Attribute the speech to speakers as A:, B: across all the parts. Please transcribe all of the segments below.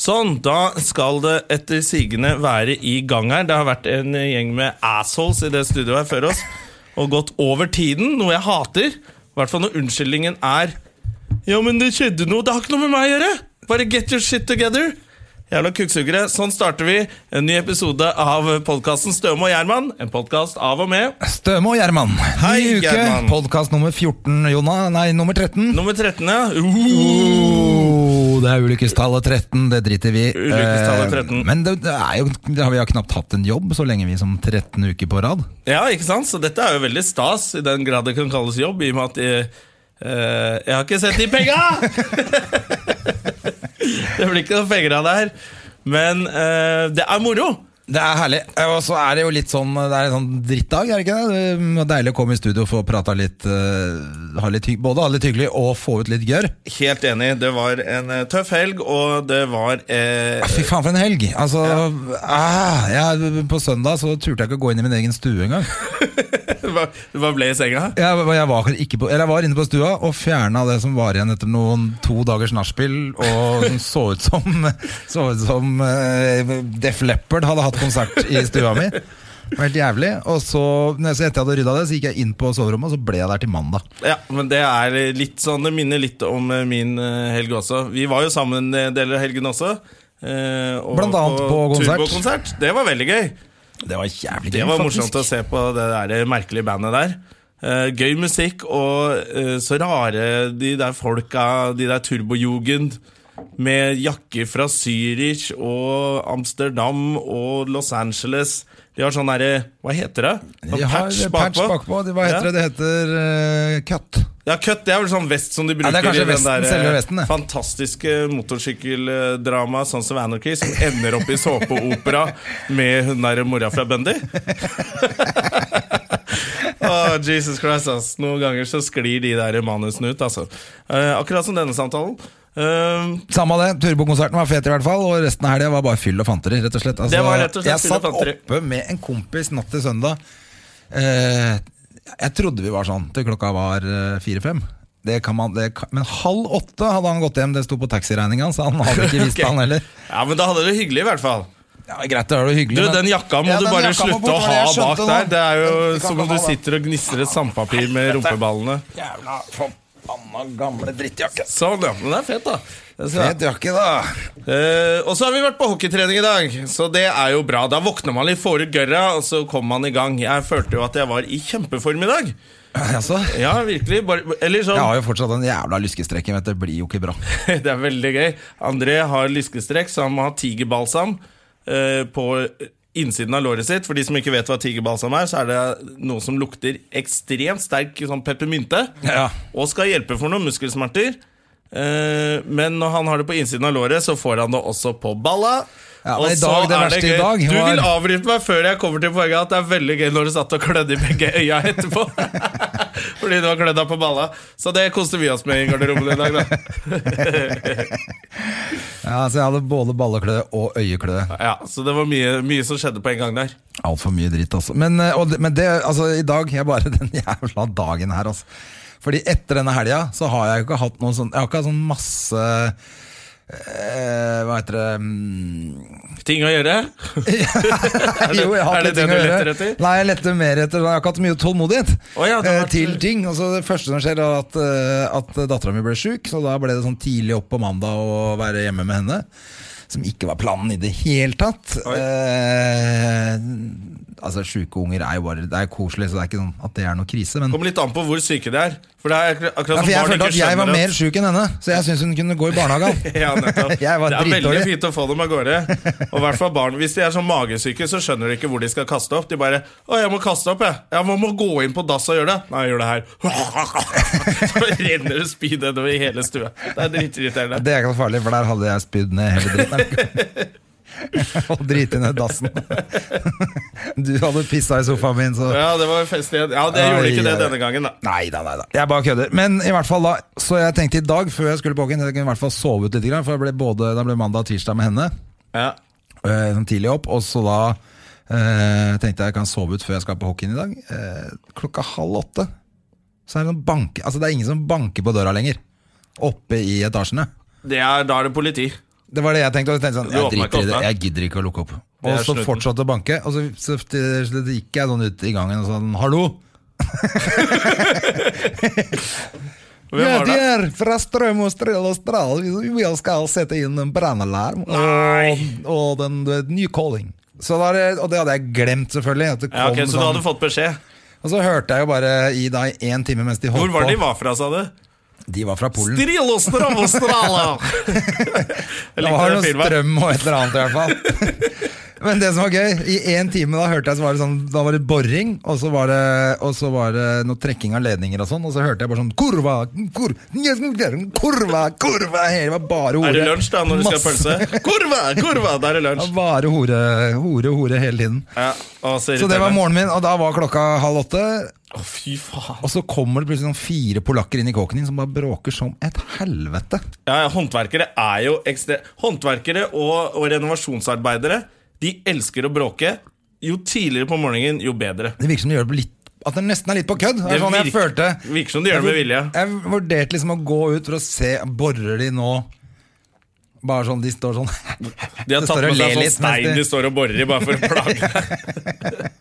A: Sånn, da skal det etter sigende være i gang her. Det har vært en gjeng med assholes i det studioet her før oss, og gått over tiden, noe jeg hater. I hvert fall når unnskyldningen er Ja, men det skjedde noe, det har ikke noe med meg å gjøre! Bare get your shit together! Jævla kukksugere. Sånn starter vi en ny episode av podkasten Støme og Gjerman. En podkast av og med
B: Støme og Gjerman.
A: Hei,
B: Ny uke.
A: Gjerman.
B: Podkast nummer 14, Jonna. Nei, nummer 13.
A: nummer 13, ja. Uh,
B: Oh, det er ulykkestallet 13, det driter vi i.
A: Ulykkestallet 13.
B: Eh, Men det, det er jo, det har vi har knapt hatt en jobb så lenge vi som 13 uker på rad.
A: Ja, ikke sant? Så dette er jo veldig stas, i den grad det kan kalles jobb, i og med at jeg, eh, jeg har ikke sett de penga! det blir ikke noen penger av det her. Men eh, det er moro!
B: Det er herlig. Eh, Og så er det jo litt sånn Det er en sånn drittdag, er det ikke det? det? er Deilig å komme i studio og få prata litt, eh, ha litt hy- Både ha det litt hyggelig og få ut litt gørr.
A: Helt enig. Det var en eh, tøff helg, og det var eh,
B: Fy faen, for en helg! Altså, ah, jeg, På søndag så turte jeg ikke å gå inn i min egen stue engang.
A: Hva hva ble i senga?
B: Jeg, jeg, var ikke på, eller jeg var inne på stua og fjerna det som var igjen etter noen to dagers nachspiel, og som så ut som, så ut som eh, Def Leppard hadde hatt konsert i stua mi. Det var Helt jævlig. Og så, når jeg- så etter jeg hadde rydda det, så gikk jeg inn på soverommet, og så ble jeg der til mandag.
A: Ja, men det er litt sånn Det minner litt om eh, min eh, helg også. Vi var jo sammen eh, deler av helgen også. eh, og
B: Blant annet på konsert.
A: turbokonsert. Det var veldig gøy.
B: Det var jævlig
A: Det var morsomt å se på det der merkelige bandet der. Eh, gøy musikk, og eh, så rare de der folka, de der turbojugend, med jakker fra Zürich og Amsterdam og Los Angeles. De har sånn derre Hva heter det? Sånn
B: De har patch bakpå. Det, hva heter det?
A: ja.
B: Det heter eh, cut.
A: Ja, cut, det er vel sånn vest som de bruker
B: det er kanskje
A: i den
B: vesten,
A: der,
B: selve
A: eh,
B: vesten, det.
A: fantastiske motorsykkeldramaet Sons of Anarchy, som ender opp i såpeopera med hun derre mora fra Bundy. Å, Jesus Christ, ass. Noen ganger så sklir de der manusene ut, altså. Eh, akkurat som denne samtalen. Eh,
B: Samme det, turbokonserten var fet i hvert fall, og resten av helga var bare fyll og fanteri. rett og slett. Altså,
A: Det var rett og slett
B: jeg
A: fyll og
B: satt
A: fanteri.
B: oppe med en kompis natt til søndag. Eh, jeg trodde vi var sånn til klokka var eh, fire-fem. Det kan man, det kan, men halv åtte hadde han gått hjem, det sto på taxiregninga, så han hadde ikke visst
A: Ok.
B: det, han heller.
A: ja, men da hadde det hyggelig, i hvert fall.
B: Ja, greit, det var jo hyggelig
A: Du,
B: men-
A: Den jakka må
B: Ja,
A: du
B: den
A: bare
B: jakka må
A: slutte
B: bort,
A: å
B: var det
A: ha
B: jeg
A: bak
B: skjønte nå.
A: der. Det er jo
B: Vi kan
A: som
B: ikke
A: om du
B: ha det.
A: sitter og gnisser et sandpapir med rumpeballene.
B: Jævla forbanna gamle drittjakke.
A: Sånn, ja. Men det er fett, da. Det skal jeg ha.
B: Fet jakke, da.
A: Eh, og så har vi vært på hockeytrening i dag, så det er jo bra. Da våkner man litt, får ut gørra, og så kommer man i gang. Jeg følte jo at jeg var i kjempeform i dag.
B: Altså, jeg
A: Ja, virkelig. Bare, eller sånn
B: har jo fortsatt den jævla lyskestrekken, vet du. Det blir jo ikke bra.
A: Det er veldig gøy. André har lyskestrekk, så han må ha tigerbalsam eh, på innsiden av låret sitt. For de som ikke vet hva tigerbalsam er, så er det noe som lukter ekstremt sterk sånn peppermynte.
B: Ja.
A: Og skal hjelpe for noen muskelsmerter. Eh, men når han har det på innsiden av låret, så får han det også på balla.
B: Ja, men
A: Og
B: i
A: så
B: dag, det
A: er
B: verste i
A: gøy.
B: dag
A: Du
B: var-
A: vil avbryte meg før jeg kommer til poenget at det er veldig gøy når du satt og klødde i begge øya etterpå. Fordi du har klødd deg på balla. Så det koster vi oss med i garderoben i dag, da.
B: Ja, så jeg hadde både ballekløe og øyekløe.
A: Ja, så det var mye, mye som skjedde på en gang der.
B: Altfor mye dritt, altså. Men, eh, og, det- men det, altså, i dag er bare den jævla dagen her, altså. Fordi etter denne helga så har jeg jo ikke hatt noen sånn Jeg har ikke hatt sånn masse eh, Hva heter det mm,
A: Ting å gjøre?
B: Jo, jeg har
A: er
B: hatt
A: det
B: litt
A: det
B: ting
A: du
B: å
A: letter
B: gjøre.
A: etter?
B: Nei, jeg letter mer etter Jeg har ikke hatt mye tålmodighet
A: Å ja, det har
B: eh,
A: vært-
B: til ting. Og så det første som skjer, er at, eh, at dattera mi ble sjuk, så da ble det sånn tidlig opp på mandag å være hjemme med henne. Som ikke var planen i det hele tatt.
A: Oi.
B: Eh, Altså, Sjuke unger er jo bare Det er koselig, så det er ikke sånn at det er noe krise. Men
A: Kommer litt an på hvor syke de er. For det er akkur-
B: ja, for
A: akkurat som
B: jeg
A: barn
B: følte
A: ikke
B: at jeg var
A: skjønner
B: mer sjuk enn henne, så jeg syns hun kunne gå i barnehagen.
A: ja, nettopp. Det
B: Jeg var
A: er veldig
B: dritdårlig.
A: fint å få dem av gårde. Og i hvert fall barn, Hvis de er sånn magesyke, så skjønner de ikke hvor de skal kaste opp. De bare 'Å, jeg må kaste opp, jeg. Jeg må, må gå inn på dass og gjøre det.' Nei, jeg gjør det her. Så renner det spyd nedover i hele stua. Det er dritirriterende.
B: Det er ikke så farlig, for der hadde jeg spydd ned hele dritten. Og driti ned dassen. Du hadde pissa i sofaen min, så
A: Ja, det var fest igjen. Ja, det gjorde ikke det denne gangen, da.
B: Nei da, nei da. Jeg bare kødder. Men i hvert fall da, så jeg tenkte i dag, før jeg skulle på Håken, jeg kunne i hvert fall sove ut litt, grann, for jeg ble både, da ble mandag og tirsdag med henne.
A: Ja.
B: eh, sånn tidlig opp, og så da eh, tenkte jeg jeg kan sove ut før jeg skal på hockeyen i dag. Eh, klokka halv åtte så er det noen banke, altså det er ingen som banker på døra lenger. Oppe i etasjene.
A: Det er, da er det politi.
B: Det var det jeg tenkte. Og jeg tenkte sånn,
A: Du
B: jeg
A: åpner ikke
B: driter i det,
A: opp, da.
B: jeg gidder ikke å lukke opp.
A: Det er
B: Og så
A: slutten.
B: fortsatte å banke, og så, så, til slutt gikk jeg sånn ut i gangen og sånn Hallo!
A: Hvem var det?
B: er fra Strøm og Strøl og Stral. Vi skal sette inn en brannalarm og, og den, du vet, ny calling. Så da, er det- og det hadde jeg glemt, selvfølgelig. At det kom
A: Ja, ok, Så du
B: sånn-
A: hadde fått beskjed?
B: Og så hørte jeg jo bare i deg en time mens de holdt
A: Hvor var
B: på.
A: de var fra, sa du?
B: De var fra Polen.
A: Strilostramostral!
B: Det
A: Jeg likte
B: var noe
A: den filmen.
B: strøm og et eller annet i hvert fall. Men det som var gøy, i en time da hørte jeg så var det sånn Da var det boring, og så var det, og så var det noe trekking av ledninger og sånn, og så hørte jeg bare sånn Kurva, kur, kurva, kurva Det var bare hore.
A: Er det lunsj da, når du skal ha
B: Masse-
A: pølse? Kurva, kurva, da er
B: Det
A: det
B: var
A: lunsj.
B: Bare hore, hore, hore hele tiden.
A: Ja, å,
B: Så det var morgenen min, og da var klokka halv åtte.
A: Å, fy faen.
B: Og så kommer det plutselig sånn fire polakker inn i kåken din som bare bråker som et helvete.
A: Ja, ja, håndverkere er jo ekstre... Håndverkere og, og renovasjonsarbeidere, de elsker å bråke. Jo tidligere på morgenen, jo bedre.
B: Det virker som de gjør det på litt At det nesten er litt på kødd. Det er
A: Det
B: sånn jeg
A: virker-
B: følte sånn-
A: virker som de gjør det med vilje.
B: Jeg vurderte liksom å gå ut for å se Borrer de nå Bare sånn, de står sånn
A: De har
B: Det
A: tatt
B: står og
A: med
B: ler
A: seg sånn
B: litt mens
A: stein
B: de-
A: de står og borer i bare for å plage deg.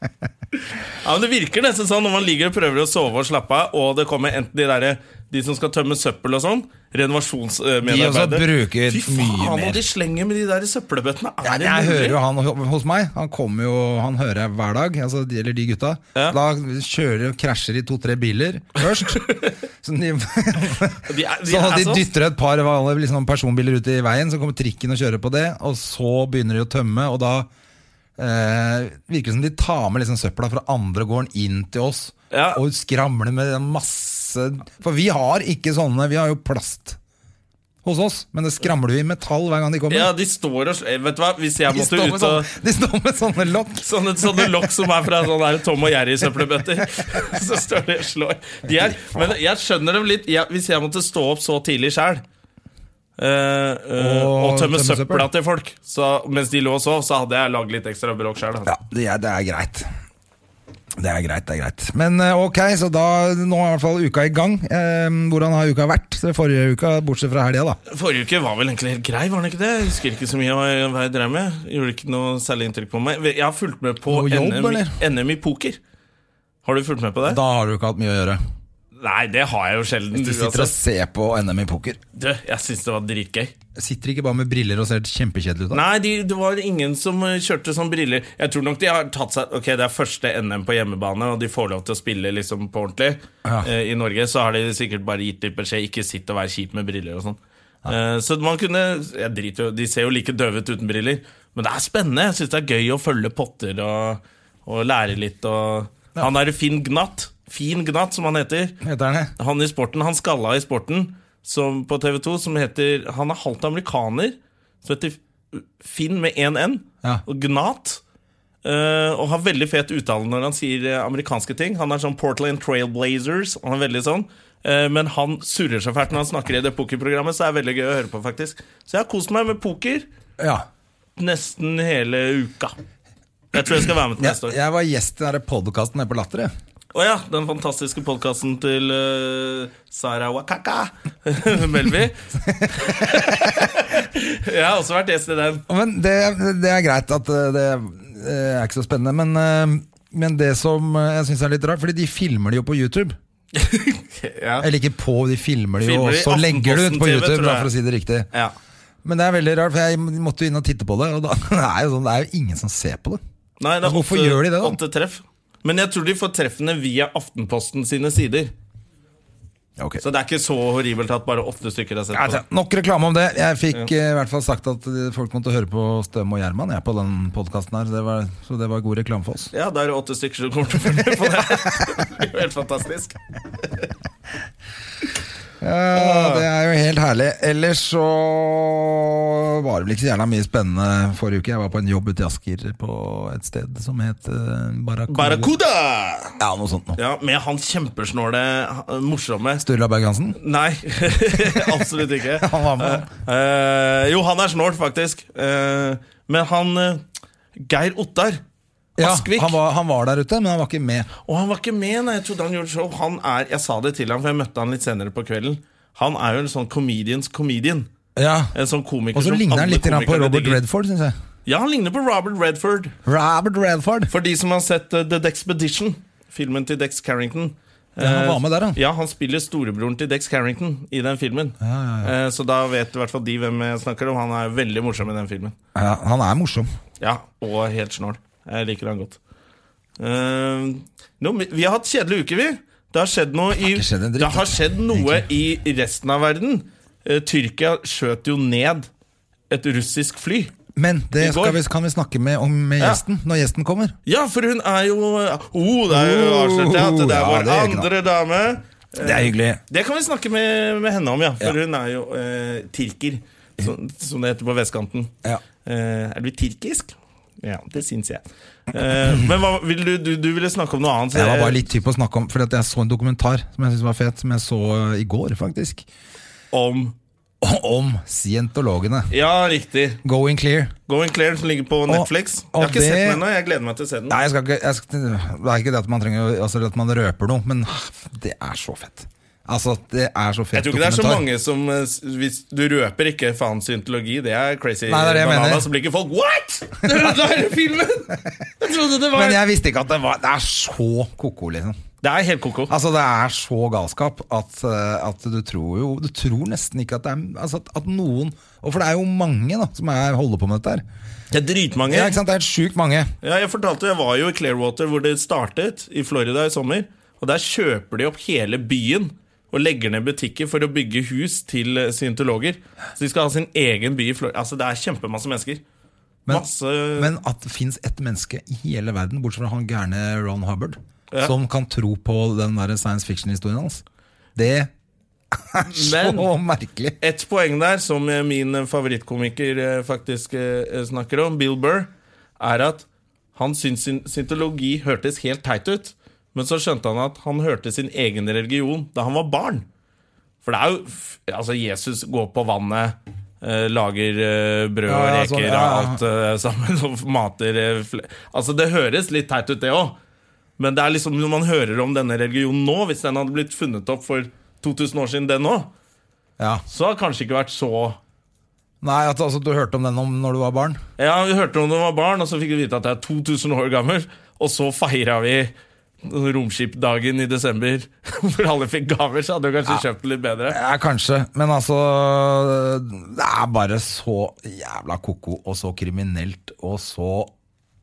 A: ja, men det virker nesten sånn når man ligger og prøver å sove og slappe av, og det kommer enten de derre de som skal tømme søppel og sånn, renovasjonsmedarbeidere
B: De også bruker
A: Fy faen,
B: mye mer.
A: og de slenger med de der søppelbøttene. Er
B: Jeg,
A: det mulig?
B: hører jo han ho- hos meg Han kommer jo, han hører jeg hver dag altså, de, Eller de gutta
A: Ja.
B: Da kjører og krasjer i to-tre biler Først Så de,
A: De er- de
B: så
A: er
B: de
A: sånn.
B: dytter et par vanlige, liksom, personbiler ut i veien Så kommer trikken og kjører på det Og så begynner de å tømme Og da eh, virker det som de tar med liksom, søpla fra andre gården inn til oss
A: Ja.
B: Og skramler med den masse For vi har ikke sånne Vi har jo plast hos oss Men det skramler vi i metall hver gang de kommer
A: Ja, de står og sl- Vet du hva, hvis jeg
B: de
A: måtte
B: står, med sånn-
A: ut og
B: sånne, de står med sånne lokk.
A: Sånne, sånne lokk som er fra sånne der Tom og Jerry-søppelbøtter. Så står de og slår. De er, men jeg skjønner dem litt. Jeg, hvis jeg måtte stå opp så tidlig sjøl og,
B: Og
A: tømme
B: tømme
A: søpla
B: søppel.
A: til folk så, mens de lå og sov, så hadde jeg lagd litt ekstra bråk sjøl.
B: Ja, det er, det er greit. Det er greit, det er greit. Men eh, ok, så da nå er i hvert fall uka i gang. Eh, hvordan har uka vært? Så Forrige uka, bortsett fra helga, da.
A: Forrige uke var vel egentlig helt grei, var den ikke det? Jeg husker ikke så mye av hva jeg drev med. Gjorde ikke noe særlig inntrykk på meg. Jeg har fulgt med på
B: Noe jobb,
A: NM,
B: eller?
A: NM i poker. Har du fulgt med på det?
B: Da har du ikke hatt mye å gjøre.
A: Nei, det har jeg jo sjelden.
B: Du sitter og
A: uansett.
B: ser på NM i poker.
A: Du, jeg syns det var dritgøy.
B: Sitter ikke bare med briller og ser kjempekjedelig ut? da?
A: Nei, de, det var ingen som eh, kjørte sånn briller. Jeg tror nok de har tatt seg Ok, det er første NM på hjemmebane, og de får lov til å spille liksom på ordentlig.
B: Ja.
A: Eh, I Norge så har de sikkert bare gitt litt beskjed ikke sitt og vær kjip med briller og sånn. Eh, så man kunne Jeg driter jo De ser jo like døve ut uten briller, men det er spennende. Jeg syns det er gøy å følge potter og, og lære litt og Han derre Finn Gnatt, Fin Gnatt som han heter,
B: Heter den det?
A: han i sporten, han skalla i sporten som, på TV 2 som heter Han er halvt amerikaner, som heter Finn med én N,
B: Ja.
A: og Gnat. eh, og har veldig fet uttale når han sier eh, amerikanske ting. Han er sånn Portland Trailblazers. Han er veldig sånn Eh, Men han surrer så fælt når han snakker i det pokerprogrammet, så det er veldig gøy å høre på, faktisk. Så jeg har kost meg med poker
B: Ja.
A: nesten hele uka. Jeg tror jeg skal være med til neste
B: Jeg,
A: år.
B: jeg var gjest i den podkasten på Latter. jeg.
A: Å ja, den fantastiske podkasten til eh, Sara Wakaka Melby. jeg har også vært gjest i den.
B: Ja, Men det, det er greit at eh, det eh, er ikke så spennende, men, eh, men det som eh, jeg syns er litt rart, fordi de filmer det jo på YouTube.
A: ja.
B: Eller ikke på, de filmer det jo,
A: Filmer
B: og
A: det i
B: så legger det ut på
A: Aftenposten-TV,
B: YouTube,
A: tror
B: da,
A: jeg.
B: for å si det riktig.
A: ja.
B: Men det er veldig rart, for jeg måtte jo inn og titte på det, og da, det, er jo sånn, det er jo ingen som ser på det.
A: Nei, det er
B: Hvorfor gjør de det da?
A: Åtte treff. Men jeg tror de får treffene via Aftenposten sine sider.
B: Ja, ok.
A: Så det er ikke så horribelt at bare åtte stykker har sett
B: Ja,
A: på.
B: altså, nok reklame om det. Jeg fikk eh, i hvert fall sagt at eh, folk måtte høre på Støm og Gjerman jeg, på den podkasten her. Det var, så det var god reklame for oss.
A: Ja, da er det åtte stykker som kommer til å følge med på det. Det er jo helt fantastisk.
B: Ja, det er jo helt herlig. Ellers så var det vel ikke så jævla mye spennende forrige uke. Jeg var på en jobb ute i Asker på et sted som het eh, Barracuda.
A: Barracuda!
B: Ja, noe sånt noe.
A: Ja, med han kjempesnåle, han- morsomme
B: Sturla Berg-Hansen.
A: Nei, absolutt ikke.
B: Han var med.
A: Eh, eh, jo, han er snål, faktisk. Eh, men han eh, Geir Ottar
B: Ja,
A: Askvik.
B: han, var, han var der ute, men han var ikke med.
A: Og han var ikke med når jeg trodde han gjorde show. Han er, jeg sa det til ham, for jeg møtte han litt senere på kvelden. Han er jo en sånn comedians comedian.
B: Ja,
A: En sånn komiker
B: Og så
A: som
B: ligner han
A: alle
B: litt grann på
A: komikere
B: Robert
A: digger.
B: Redford, syns jeg.
A: Ja, han ligner på Robert Redford.
B: Robert Redford!
A: For de som har sett eh, The Dexpedition, filmen til Dex Carrington. Eh,
B: Ja, han var med der, han.
A: Ja, han spiller storebroren til Dex Carrington i den filmen. Eh, Så da vet i hvert fall de hvem jeg snakker om. Han er veldig morsom i den filmen.
B: Ja, han er morsom.
A: Ja, og helt snål. Jeg liker han godt. Eh, nå, vi har hatt kjedelige uker, vi. Det har skjedd noe, i,
B: ikke skjedd en dritt,
A: det har skjedd noe i resten av verden. Eh, Tyrkia skjøt jo ned et russisk fly.
B: Men
A: I
B: det
A: går-
B: skal vi, kan vi snakke med om med
A: Ja.
B: gjesten når gjesten kommer.
A: Ja, for hun er jo oh, det er jo avslørt ja, at det er
B: Ja,
A: vår
B: det er ikke noe.
A: andre dame.
B: Det er hyggelig.
A: Det kan vi snakke med, med henne om, ja. For
B: Ja.
A: hun er jo eh, tirker, som, som det heter på vestkanten.
B: Ja.
A: Eh, er du tirkisk? Ja, det syns jeg. Eh, men hva, vil du, du, du ville snakke om noe annet? så
B: Jeg var bare litt typ å snakke om, fordi at jeg så en dokumentar som jeg synes var fet, som jeg så eh, i går, faktisk.
A: Om
B: Om scientologene.
A: Ja, riktig.
B: Going clear.
A: Going Clear, som ligger på Netflix. jeg har
B: og
A: ikke sett
B: det-
A: den ennå. Jeg gleder meg til å se den.
B: Nei, jeg skal ikke, jeg skal, det er ikke det at man trenger å- Altså det at man røper noe, men det er så fett. Altså, det er så
A: Jeg
B: fett
A: tror ikke det er så mange som eh, s- hvis Du røper ikke faen syntologi. Det er crazy
B: Nei, det er det jeg
A: banana.
B: mener.
A: Så blir ikke folk What?! Det er det der i filmen! Jeg trodde det var
B: Men jeg visste ikke at det var Det er så ko-ko, liksom.
A: Det er helt koko.
B: Altså Det er så galskap at, eh, at du tror jo Du tror nesten ikke at det er altså, at, at noen Og for det er jo mange da som er, holder på med dette her.
A: Det er dritmange.
B: Ja, ikke sant? Det er helt sjukt mange.
A: Ja, jeg fortalte, jeg var jo i Clearwater hvor det startet, i Florida i sommer. Og der kjøper de opp hele byen og legger ned butikker for å bygge hus til eh, scientologer. Så de skal ha sin egen by i Florida. Altså, det er kjempemasse mennesker.
B: Men,
A: Masse
B: men at det fins ett menneske i hele verden, bortsett fra han gærne Ron Hubbard, som kan tro på den der science fiction-historien hans, det er så
A: Men-
B: merkelig.
A: Ett poeng der, som eh, min eh, favorittkomiker eh, faktisk eh, snakker om, Bill Burr, er at han syntes sin- scientologi hørtes helt teit ut. Men så skjønte han at han hørte sin egen religion da han var barn. For det er jo f- Altså, Jesus går på vannet, eh, lager eh, brød og
B: Ja, ja, sånn,
A: reker og
B: ja, ja.
A: alt eh, sammen, og mater eh, fle- Altså, det høres litt teit ut, det òg. Men det er liksom når man hører om denne religionen nå, hvis den hadde blitt funnet opp for 2000 år siden, den òg
B: Ja.
A: så har det kanskje ikke vært så
B: Nei, at, altså, Du hørte om den om når du var barn?
A: Ja, vi hørte om det var barn, og så fikk vi vite at det er 2000 år gammel, og så feira vi romskipdagen i desember, hvor alle fikk gaver, så hadde du kanskje kjøpt det litt bedre.
B: Ja, kanskje, men altså Det er bare så jævla koko og så kriminelt og så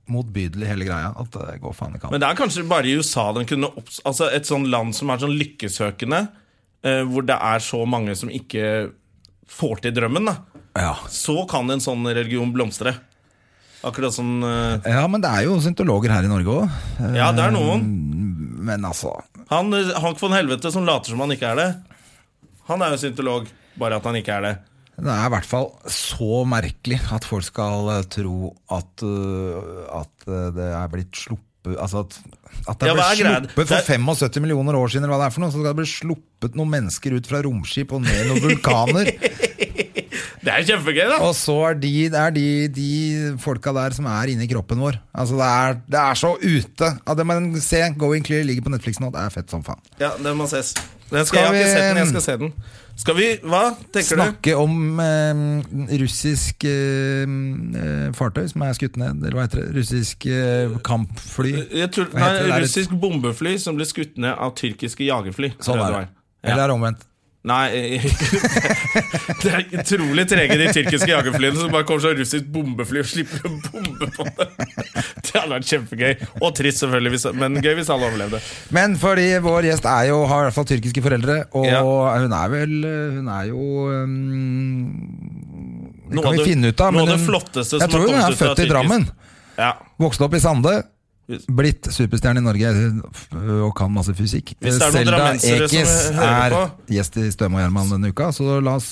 B: motbydelig hele greia at det går faen ikke an.
A: Men det er kanskje bare i USA den kunne opps... Altså et sånn land som er sånn lykkesøkende, eh, hvor det er så mange som ikke får til drømmen, da.
B: Ja.
A: Så kan en sånn religion blomstre. Akkurat som eh,
B: ja, men det er jo syntologer her i Norge òg.
A: Ja, det er noen.
B: Men altså
A: Han eh, Hank von Helvete som later som han ikke er det. Han er jo syntolog, bare at han ikke er det.
B: Det er i hvert fall så merkelig at folk skal eh, tro at, øh, at eh, det er blitt sluppet Altså at, at det
A: Ja,
B: ble
A: hva er greia?
B: sluppet
A: Det
B: for
A: er-
B: 75 millioner år siden, eller hva det er for noe, så skal det bli sluppet noen mennesker ut fra romskip og ned i noen vulkaner.
A: Det er kjempegøy, da!
B: Og så er de, det er de, de folka der som er inni kroppen vår. Altså Det er, det er så ute. Ja, det, men se, Going Clear ligger på Netflix nå. Det er fett som faen.
A: Ja, den må ses. Den skal,
B: Skal
A: jeg har ikke
B: vi-
A: sett den, jeg skal se den. Skal vi Hva tenker du?
B: Snakke om eh, russisk eh, eh, fartøy som er skutt ned, eller hva heter det? Russisk eh, kampfly?
A: Jeg tror,
B: Hva
A: nei,
B: heter det? Det er et-
A: russisk bombefly som ble skutt ned av tyrkiske jagerfly.
B: Sånn
A: tror jeg
B: er det.
A: var.
B: Eller er det omvendt?
A: Nei Det er utrolig trege, de tyrkiske jagerflyene som bare kommer som russisk bombefly og slipper en bombe på det. Det hadde vært kjempegøy. Og trist, selvfølgelig, hvis, men gøy hvis alle overlevde.
B: Men fordi vår gjest er jo, har i hvert fall tyrkiske foreldre, og
A: Ja.
B: hun er vel eh, Hun er jo um, Det
A: Noe av
B: kan vi
A: det-
B: finne ut av.
A: noe av
B: men
A: det
B: hun-
A: flotteste
B: Jeg
A: som har
B: tror hun
A: kommet
B: er
A: ut fra
B: født i
A: tyrkisk.
B: Drammen.
A: Ja.
B: Vokst opp i Sande.
A: Yes.
B: Blitt superstjerne i Norge eh, og kan masse fysikk.
A: Hvis det er noen
B: Selda
A: drammensere som
B: Ekiz
A: hører
B: er
A: på.
B: gjest i Støme og Gjerman denne uka, så la oss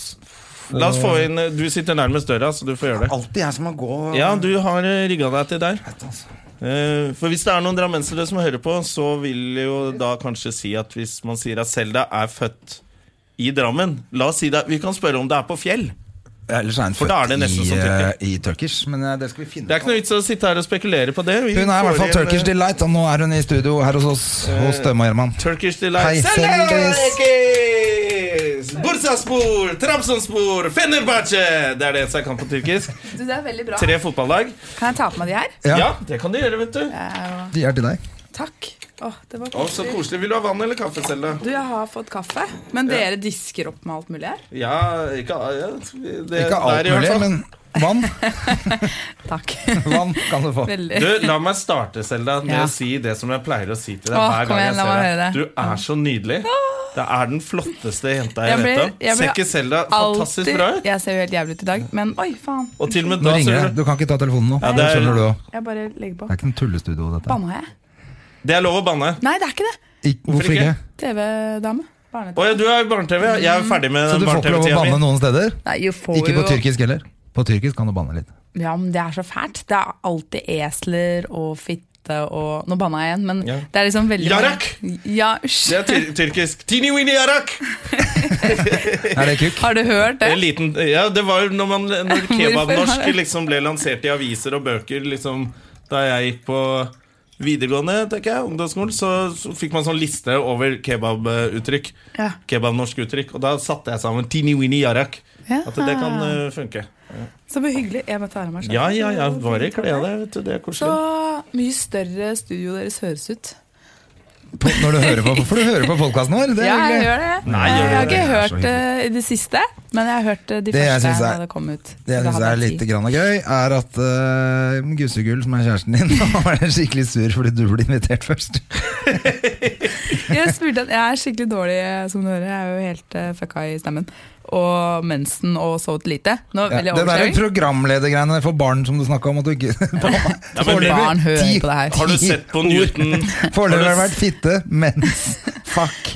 A: La oss få inn Du sitter nærmest døra, så du får gjøre det.
B: Alltid jeg som må gå
A: Ja, du har rigga deg til der.
B: altså.
A: Eh, For hvis det er noen drammensere som hører på, så vil jo da kanskje si at hvis man sier at Selda er født i Drammen La oss si det, Vi kan spørre om det er på fjell.
B: Ellers er hun
A: For da er det
B: født i,
A: nesten som tyrker.
B: eh, i Turkish, men eh, det skal vi finne
A: Det er ikke noe vits å sitte her og spekulere på det. Vi
B: Hun er i hvert
A: får
B: fall
A: inn, eh,
B: Turkish Delight, og nå er hun i studio her hos oss hos Støme og Gjerman.
A: Turkish
B: Hei,
A: Delight.
B: Seldis.
A: Seldis! Bursaspor, Trabzonspor, Fenerbahçe! Det er det som er kamp på tyrkisk.
C: Du, det er veldig bra.
A: Tre fotballag.
C: Kan jeg ta på meg de her?
A: Ja.
B: Ja,
A: det kan du gjøre, vet du.
B: de er til deg.
C: Takk. Åh, det var
A: Å, så
C: koselig.
A: koselig. Vil du ha vann eller kaffe, Selda?
C: Du, jeg har fått kaffe, men dere disker opp med alt mulig her?
A: Ja, ikke, ja, det,
B: Ikke alt
A: Eh, der i hvert
B: mulig,
A: fall.
B: men vann
C: Takk.
B: Vann kan du få.
C: Veldig.
A: Du, La meg starte, Selda, med
C: Ja.
A: å si det som jeg pleier å si til deg
C: Åh,
A: hver
C: kom
A: gang
C: igjen,
A: jeg
C: la meg
A: ser
C: høre
A: deg.
C: det.
A: Du er så nydelig. Det er den flotteste jenta jeg,
C: Jeg blir-
A: vet
C: jeg
A: om. Ser
C: blir
A: ikke Selda fantastisk bra ut?
C: Jeg ser jo helt jævlig ut i dag, men oi, faen.
A: Og til og med
B: Nå
A: da
B: ringer det.
A: ser
B: Du kan ikke ta telefonen nå.
A: Ja, det
B: det
A: er-
B: skjønner du også.
C: Jeg bare legger på.
B: Det er ikke en tullestudio, dette.
C: Banna jeg?
A: du Det er lov å banne.
C: Nei, det er ikke det.
B: Ik hvorfor ikke?
A: ikke?
C: TV-dame.
A: Å ja, du er i barne-TV. ja. Jeg er ferdig med
B: Så du
A: den
B: får ikke lov å
A: barne-TV-tida mi.
B: banne noen steder?
C: Nei, jo, får
B: Ikke på
C: jo-
B: tyrkisk heller. På tyrkisk kan du banne litt.
C: Ja, men det er så fælt. Det er alltid esler og fitte og Nå banna jeg igjen, men
A: Ja.
C: det er liksom veldig
A: Jarak!
C: Ja, hysj.
A: Det er tyr tyrkisk. Tini wini arak!
B: Er det kukk?
C: Har du hørt
A: Det, er
C: det?
A: en liten, ja, det var jo når, man- når
C: Hvorfor har
A: kebabnorsk
C: jeg-
A: liksom ble lansert i aviser og bøker liksom, da jeg gikk på videregående, tenker jeg, ungdomsskolen, så, så fikk man sånn liste over kebabuttrykk.
C: Ja.
A: Kebabnorsk uttrykk. Og da satte jeg sammen tini wini arak.
C: Ja. Ah.
A: At det kan eh, funke.
C: Så hyggelig. Jeg måtte ta av meg
A: Ja, ja, ja. Bare kle av deg, vet du. Det er
C: Så
A: koselig.
C: mye større studio deres høres ut.
B: På- Når du hører på, for du hører på podkasten vår. Det
C: ja,
B: er
C: jeg
B: hyggelig.
C: gjør det.
A: Nei,
C: jeg
A: gjør
C: har
A: du
C: ikke
A: det?
B: Det er så
C: hørt det i det siste, men jeg har hørt eh, de
B: Det jeg
C: første
B: synes er-
C: da det kom ut. Så
B: Det jeg
C: da
B: syns
C: hadde
B: er
C: jeg
B: litt
C: tid.
B: grann gøy, er at uh, Gussegull, som er kjæresten din, nå er skikkelig sur fordi du ble invitert først.
C: Jeg spurte at jeg er skikkelig dårlig, eh, som du hører. Jeg er jo helt eh, fucka i stemmen. Og mensen og sovet lite. Nå,
B: Ja,
C: veldig
B: det der
C: oversharing.
B: programledergreiene for barn som du snakka om at du ikke
A: Ja, men
B: Foreløpig
C: barn hører
B: ti-
C: på det her.
A: Har du sett på Newton?
B: Foreløpig har det
A: Har
B: vært fitte, mens fuck.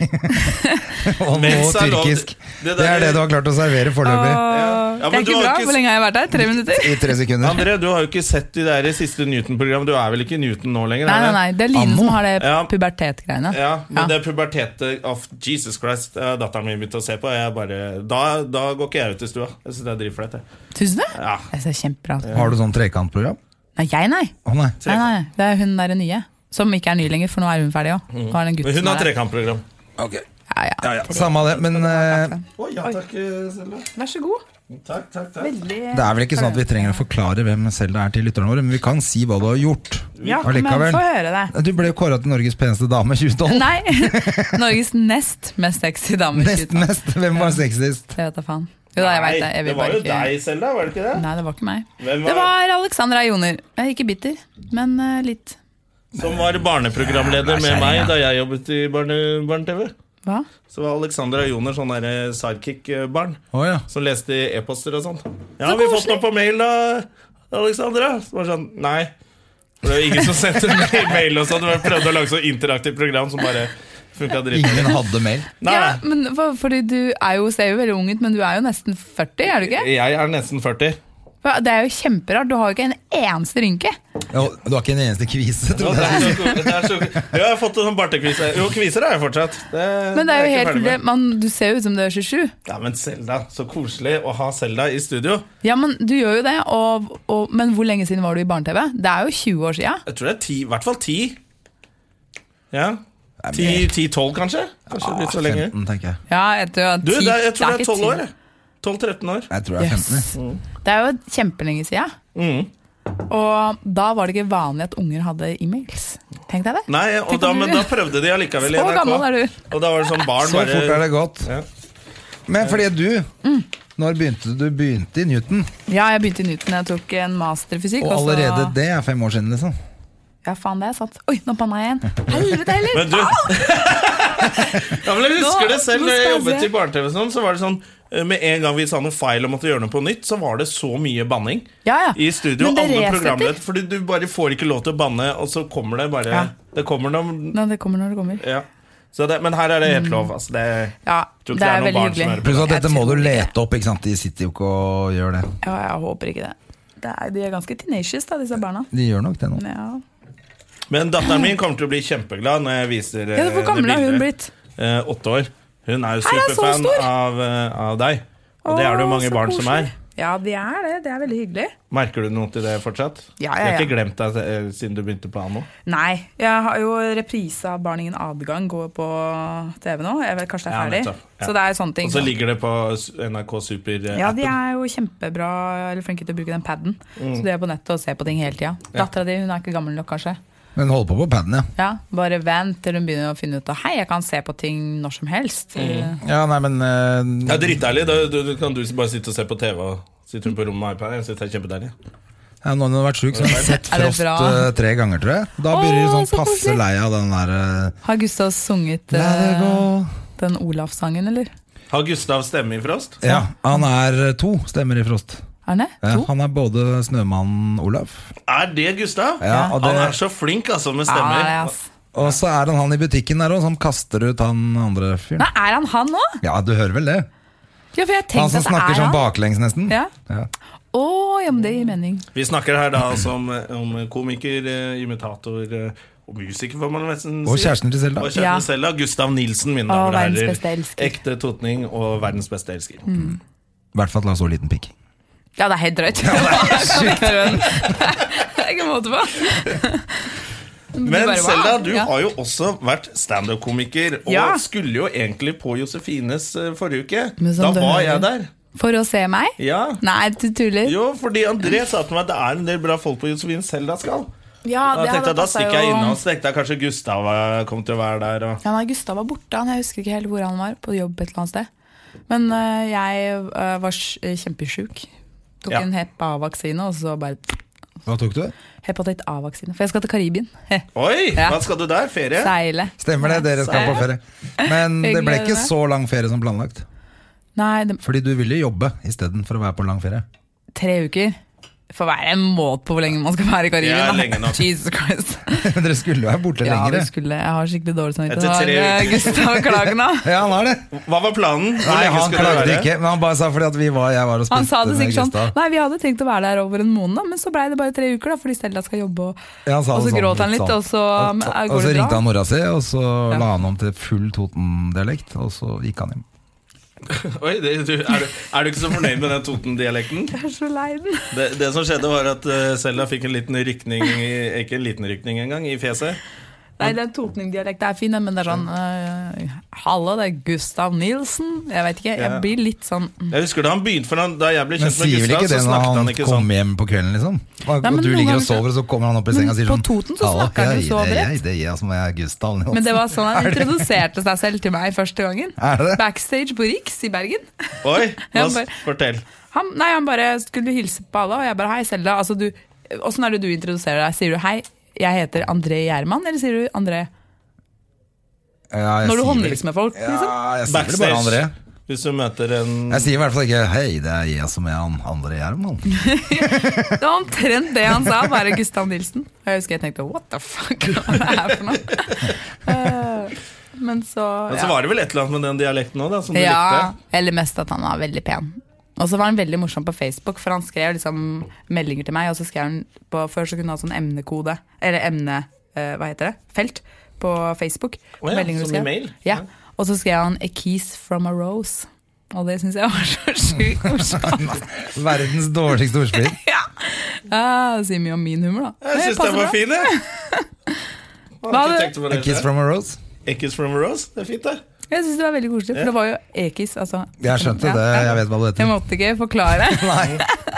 B: Og nå
A: Mens er lov-
B: tyrkisk.
A: det
B: Det er
A: der-
B: det du har klart å servere foreløpig.
C: Åh,
A: Ja,
C: det
A: men
C: er
A: du
C: ikke
A: har
C: bra.
A: ikke-
C: Hvor lenge har jeg vært her? Tre minutter?
B: I tre sekunder.
A: André, du har jo ikke sett de der siste Newton-programmene. Du er vel ikke Newton nå lenger?
C: Nei,
A: er
C: nei,
A: det?
C: nei. Det er Line
B: Anno.
C: som har det
A: Ja.
C: pubertetgreiene.
A: Ja, men
C: Ja.
A: det er pubertetet av Jesus Christ eh, datteren min begynte å se på. og Jeg bare, da, da går ikke jeg ut i stua. Jeg synes det er dritflaut. jeg.
C: Syns du det?
A: Ja.
C: Det ser kjempebra ut.
B: Har du sånn trekantprogram?
C: Nei, jeg, nei.
B: Å nei.
C: Nei, nei, Det er hun derre nye. Som ikke er ny lenger, for nå er hun ferdig òg. Nå er det en
A: Mm.
C: gutt
A: Men
C: som
A: hun har
C: er der.
A: trekantprogram.
C: Ja, ja.
B: Samme det, men eh,
A: Å ja, takk, Selma.
C: Vær så god.
A: Takk, takk, takk.
B: det er vel ikke sånn at vi trenger å forklare hvem Selda er til lytterne våre, men vi kan si hva du har gjort.
C: Ja,
B: Allikevel.
C: men få høre det.
B: Du ble jo kåra til Norges peneste dame i 2012.
C: Nei! Norges nest mest sexy dame.
B: Nest mest. Hvem var sexist?
C: Jeg vet da faen. Jo da, jeg vet det. Jeg vil
A: det var
C: bare
A: jo
C: ikke...
A: deg, Selda. Var det ikke det?
C: Nei, det var ikke meg.
A: Hvem var-
C: Det var Alexandra Joner. Jeg er ikke bitter, men eh, litt.
A: Som var barneprogramleder med meg da jeg jobbet i barne- barne-TV.
C: Hva?
A: så var Alexandra Joner sånn derre sidekick-barn
B: Å ja.
A: som leste i e-poster og sånt. Ja, har vi fått noe på mail da, Alexandra? Så var det sånn, nei. For det var ingen som sendte mail, mail og sånn. Vi prøvde å lage så interaktivt program som bare funka dritbra.
B: Ingen hadde mail.
A: Nei,
C: Ja,
A: nei.
C: men for, fordi du er jo, ser jo veldig ung ut, men du er jo nesten 40, er du ikke?
A: Jeg er nesten 40.
C: For Det er jo kjemperart. Du har jo ikke en eneste rynke.
B: Ja, Du har ikke en eneste kvise?
A: Nå,
B: tror
A: det
B: jeg.
A: er så, det er så, jeg har fått en sånn bartekvise. Jo, kviser er jeg fortsatt. Det,
C: Men det er jo
A: jeg ikke
C: helt
A: ferdig med.
C: det- man, Du ser jo ut som du er 27.
A: Ja, Men Selda, så koselig å ha Selda i studio.
C: Ja, men du gjør jo det. Og, og, men hvor lenge siden var du i barne-TV? Det er jo 20 år sia.
A: Jeg tror det er ti, i hvert fall ti. Ja. Ti-tolv, kanskje? Kanskje litt så lenge.
B: 15, tenker jeg.
C: Ja, jeg tror, at
A: Du,
C: ti-
A: det er, jeg tror det er
C: ikke
A: 12
C: ti.
A: år. jeg. 12-13 år.
B: Jeg tror jeg er 15.
C: Yes. Det er jo kjempelenge sia.
A: Mm.
C: Og da var det ikke vanlig at unger hadde e-mails. Tenk deg det.
A: Nei, og
C: Tenk
A: da,
C: om du-
A: men da prøvde de allikevel i
C: Så
A: NRK.
C: gammel er du.
A: Og da var det sånn barn
B: Så fort er
A: bare
B: det gått. Men fordi du,
C: Mm.
B: når begynte du? Du begynte i Newton,
C: Ja, jeg begynte i Newton. Jeg tok en master i fysikk.
B: og
C: og så-
B: allerede det er fem år siden, liksom.
C: Ja, faen, det er sant. Oi, nå banna jeg igjen. Helvete heller!
A: Men du ja, men Jeg husker
C: Nå-
A: det selv når jeg
C: nå skal jeg
A: jobbet
C: se.
A: i barne-TV. og Sånn, så var det sånn eh, med en gang vi sa noe feil og måtte gjøre noe på nytt, så var det så mye banning
C: Ja, ja.
A: i studio.
C: Men det
A: Alle
C: resetter.
A: programleder Fordi du bare får ikke lov til å banne, og så kommer det bare
C: Ja.
A: Det kommer noen
C: Nei, det kommer når det kommer.
A: ja. så det, Men her er det helt lov. Altså, det,
C: Ja,
A: tror
C: det
A: ikke det er
C: er
A: noen
C: veldig
A: barn som hører
C: hyggelig.
A: på.
B: Pluss at
C: Jeg
B: dette må
C: tror
B: du
C: ikke det.
B: lete opp, ikke sant? De sitter jo ikke og gjør det.
C: Ja, jeg håper ikke det. det er, de er ganske tenacious, da, disse barna.
B: De gjør nok det nå.
C: Ja,
A: Men datteren min kommer til å bli kjempeglad når jeg viser eh,
C: ja Hvor gammel
A: det
C: har hun
A: bildet.
C: blitt?
A: Eh, åtte år. Hun er jo
C: Her er så
A: superfan
C: stor!
A: av, eh, av deg. Og det er det jo
C: Å,
A: mange
C: så
A: barn som
C: koselig.
A: er.
C: Ja, de er det. Det er veldig hyggelig.
A: Merker du noe til det fortsatt? Jeg
C: Ja, ja,
A: har
C: ja.
A: ikke glemt deg eh, siden du begynte på Anno.
C: Nei. Jeg har jo reprise av Barn ingen adgang går på TV nå. Jeg vet Kanskje det
A: Ja,
C: er ferdig.
A: nettopp. Ja.
C: Så det er sånne ting.
A: Og så ligger det på s- NRK eh, Super-appen.
C: ja, de er jo kjempebra eller flinke til å bruke den paden.
B: Mm.
C: Så de er på nettet og ser på ting hele tida. Dattera di hun er ikke gammel nok, kanskje.
B: Men hold på på paden, ja.
C: Ja, Bare vent til hun begynner å finne ut av Hei, jeg kan se på ting når som helst.
B: Ja, nei, men eh,
A: Det er dritdeilig. Da da- da kan du bare sitte og se på TV. Og sitter hun på rommet med iPad. Jeg synes det er kjempedeilig.
B: ja, Nå har hun vært sjuk, så hun har sett
C: Er det
B: Frost
C: bra?
B: eh, tre ganger, tror jeg. Da blir hun
C: Åh,
B: sånn
C: så
B: passe
C: koselig.
B: lei av den der eh,
C: Har Gustav sunget
B: La det
C: eh,
B: gå
C: den Olaf-sangen, eller?
A: Har Gustav stemme i Frost?
B: Ja, han er eh, to stemmer i Frost.
C: Er det?
B: Ja,
C: To?
B: han er både snømannen Olaf
A: Er det Gustav?
B: Ja, og
A: Han
B: det-
A: er så flink altså med
C: Ja,
A: stemmer.
C: det er ass.
B: Og så er han han i butikken der òg, som kaster ut han andre fyren.
C: Nei, er han han òg?
B: Ja, du hører vel det?
C: Ja, for jeg
B: Han
C: tenkte
B: som
C: at det
B: snakker
C: er
B: sånn
C: han.
B: baklengs, nesten.
C: Ja.
B: Ja.
C: Å, ja, men det gir mening.
A: Vi snakker her da altså om, om komiker, eh, imitator eh, og musiker, får man nesten si.
B: Og kjæresten til Selda.
A: Og kjæresten
C: Ja.
A: selv, da. Gustav Nilsen, mine
C: Og
A: damer og
C: verdens beste
A: herrer.
C: elsker. Mm.
A: Ekte totning og verdens beste elsker.
B: I hvert fall la så liten pikk.
C: Ja, det er helt drøyt. Kan vi høre den? det er ikke måte på.
A: Men
C: bare, wow.
A: Selda, du
C: Ja.
A: har jo også vært standup-komiker, og
C: Ja.
A: skulle jo egentlig på Josefines eh, forrige uke.
C: Men
A: Da
C: som du
A: var
C: hører.
A: jeg der.
C: For å se meg?
A: Ja.
C: Nei, du tuller.
A: Jo, fordi André sa til meg at det er en del bra folk på Josefine Selda skal.
C: Ja,
A: Da tenkte jeg, da
C: passet
A: stikker jeg
C: jo.
A: innom, så tenkte jeg kanskje Gustav eh, kom til å være der. Og...
C: Ja, nei, Gustav var borte, han. Jeg husker ikke helt hvor han var. På jobb et eller annet sted. Men eh, jeg eh, var sj- eh, kjempesjuk. Tok
A: Ja.
C: en Hep A-vaksine, og så bare
B: Hva tok du?
C: Hepatitt A-vaksine. For jeg skal til Karibien.
A: Oi,
C: Ja.
A: hva skal du der? Ferie?
C: Seile.
B: Stemmer det, dere skal på ferie. Men det ble ikke så lang ferie som planlagt.
C: Nei, det,
B: Fordi du ville jobbe istedenfor å være på lang ferie.
C: tre uker. Får være en måte på hvor lenge man skal være i Karibien.
A: Ja,
C: da.
A: lenge nok.
C: Jesus Christ.
B: Men dere skulle jo være borte
C: Ja,
B: lenger.
C: det skulle, jeg har skikkelig dårlig samvittighet.
A: Etter tre
C: Har, eh,
A: uker.
C: Gustav klagen da.
B: Ja, han har det.
A: Hva var planen? Hvor
B: Nei,
A: lenge
B: han
A: skulle du
B: klagde
A: være?
B: ikke, men han bare sa fordi at vi var, jeg var og
C: Han sa
B: spilte
C: det
B: med
C: sikkert sånn
B: Gustav.
C: Nei, vi hadde tenkt å være der over en måned, men så blei det bare tre uker, da, fordi Stella skal jobbe. Og,
B: Ja, han sa
C: og
B: det
C: så
B: sånn,
C: gråt han
B: litt
C: litt,
B: sånn.
C: og så um, er-
B: Og
C: går
B: så
C: det
B: ringte
C: bra.
B: han mora si, og så
C: Ja.
B: la han om til full Toten-dialekt, og så gikk han hjem.
A: Oi, det, du, er, du, er du ikke så fornøyd med den Toten-dialekten?
C: Jeg er så lei den.
A: Det, det som skjedde, var at eh, Selda fikk en liten rykning i- Ikke en liten rykning engang, i fjeset.
C: Nei, den Totning-dialekten er fin, men det er sånn eh, Hallo, det er Gustav Nilsen. Jeg vet ikke, jeg
A: Ja.
C: blir litt sånn mm.
A: Jeg husker Da han begynte for han, da jeg ble
B: Men
A: kjent med
B: sier vel
A: Gustav,
B: ikke det
A: så
B: når
A: snakket
B: han,
A: han ikke sånn.
B: kommer hjem på kvelden, liksom? Og,
C: Nei, men
B: og du
C: noen
B: ligger
C: ganger
B: og
C: så-
B: sover, og så kommer han opp i senga og sier
C: på
B: sånn
C: Toten så
B: «Hallo,
C: snakker han jo
B: jeg-
C: så
B: det er
C: bredt.
B: Jeg, det er jeg som er Gustav
C: Men det var sånn han
B: Er det-
C: introduserte seg selv til meg første gangen.
B: Er det det?
C: Backstage på Riks i Bergen.
A: Oi, nå,
C: Jeg bare-
A: s- fortell.
C: Han, nei, han bare skulle hilse på alle, og jeg bare hei, Selda. Altså, du, åssen er det du introduserer deg? Sier du hei, jeg heter André Gjerman, eller sier du André?
B: Ja, jeg
C: Når du
B: sier vel-
C: håndhilser med folk, liksom?
B: Ja, jeg sier vel bare André.
A: Backstage. Hvis du møter en
B: Jeg sier i hvert fall ikke 'hei, det er jeg som er han André Gjerman'.
C: Det var omtrent det han sa, bare Gustav Nilsen. Og jeg husker jeg tenkte what the fuck, hva er det her for noe? Eh, Men så
A: Men så
C: ja.
A: var det vel et eller annet med den dialekten òg, som du
C: ja.
A: likte.
C: Eller mest at han var veldig pen. Og så var han veldig morsom på Facebook, for han skrev liksom meldinger til meg. Og så skrev han på, Før så kunne han ha sånn emnekode, eller emne... eh, hva heter det? Felt på Facebook.
A: Å ja,
C: Meldinger du
A: som i
C: skrev.
A: mail?
C: Ja. Og så skrev han 'A kiss from a rose'. Og det syns jeg var så sjukt morsomt.
B: Verdens dårligste ordspill.
C: Ja, det sier mye om min humor, da. Men
A: Jeg syns den var
C: passer bra.
A: fin, jeg. Har
C: Hva
A: ikke
C: hadde-
A: tenkt på
B: A
A: det. sånn.
B: kiss from a rose.
A: A kiss from a rose. Det er fint, det.
C: Jeg syns det var veldig koselig, for det var jo ekis. Altså.
B: Jeg skjønte
C: Ja,
B: det,
C: ja.
B: jeg vet hva det
C: Jeg
B: heter.
C: måtte ikke forklare.
B: Nei,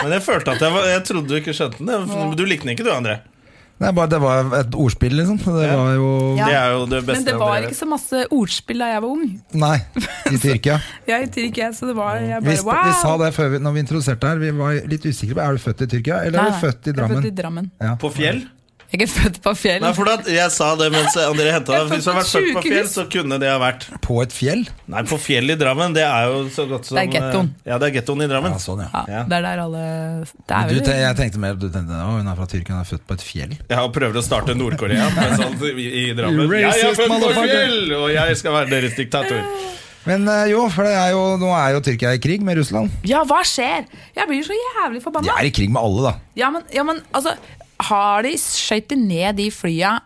A: Men jeg følte at jeg var Jeg trodde du ikke skjønte den. Men du likte den ikke, du, André.
B: Det, er bare, det var et ordspill, liksom. Det
A: Ja.
B: var jo
C: Ja.
A: Det er jo det beste
C: Men det
A: av
C: var
A: dere.
C: ikke så masse ordspill da jeg var ung.
B: Nei, i Tyrkia.
C: Jeg er ikke, så det var jeg
B: Vi,
C: bare
B: sp-
C: wow.
B: vi sa det før vi, når vi introduserte her, vi var litt usikre på er du født i Tyrkia eller
C: Nei,
B: er du
C: nei,
B: født i
C: jeg er
B: Drammen.
C: Født i Drammen.
B: Ja.
A: På fjell?
C: Jeg er ikke født på fjell.
A: Nei, for da, jeg sa det mens André henta
C: Jeg er
A: deg. Hvis du hadde vært
C: født
A: født
C: på
A: på fjell,
C: sykehus.
A: så kunne det ha vært
B: På et fjell?
A: Nei, på fjell i Drammen, det er jo så godt som
C: Det er gettoen.
A: eh, Ja, det er gettoen i Drammen.
B: Ja, sånn, ja.
C: Ja,
A: Ja.
C: Det er der alle Det er
B: Du,
C: vel
B: te- jeg tenkte mer du tenkte, å, hun er fra Tyrkia, hun er født på et fjell.
A: Jeg prøver å starte Nord-Korea men sånn, i i Drammen.
B: You
A: Jeg er
B: racist
A: født på
B: motherfucker.
A: fjell, og jeg skal være deres diktator.
B: Men eh, jo, for det er jo, nå er jo Tyrkia i krig med Russland.
C: Ja, hva skjer? Jeg blir så
B: De
C: jævlig forbanna.
B: er i krig med alle, da.
C: Ja, men, ja, men altså Har de skøyt de ned de flya?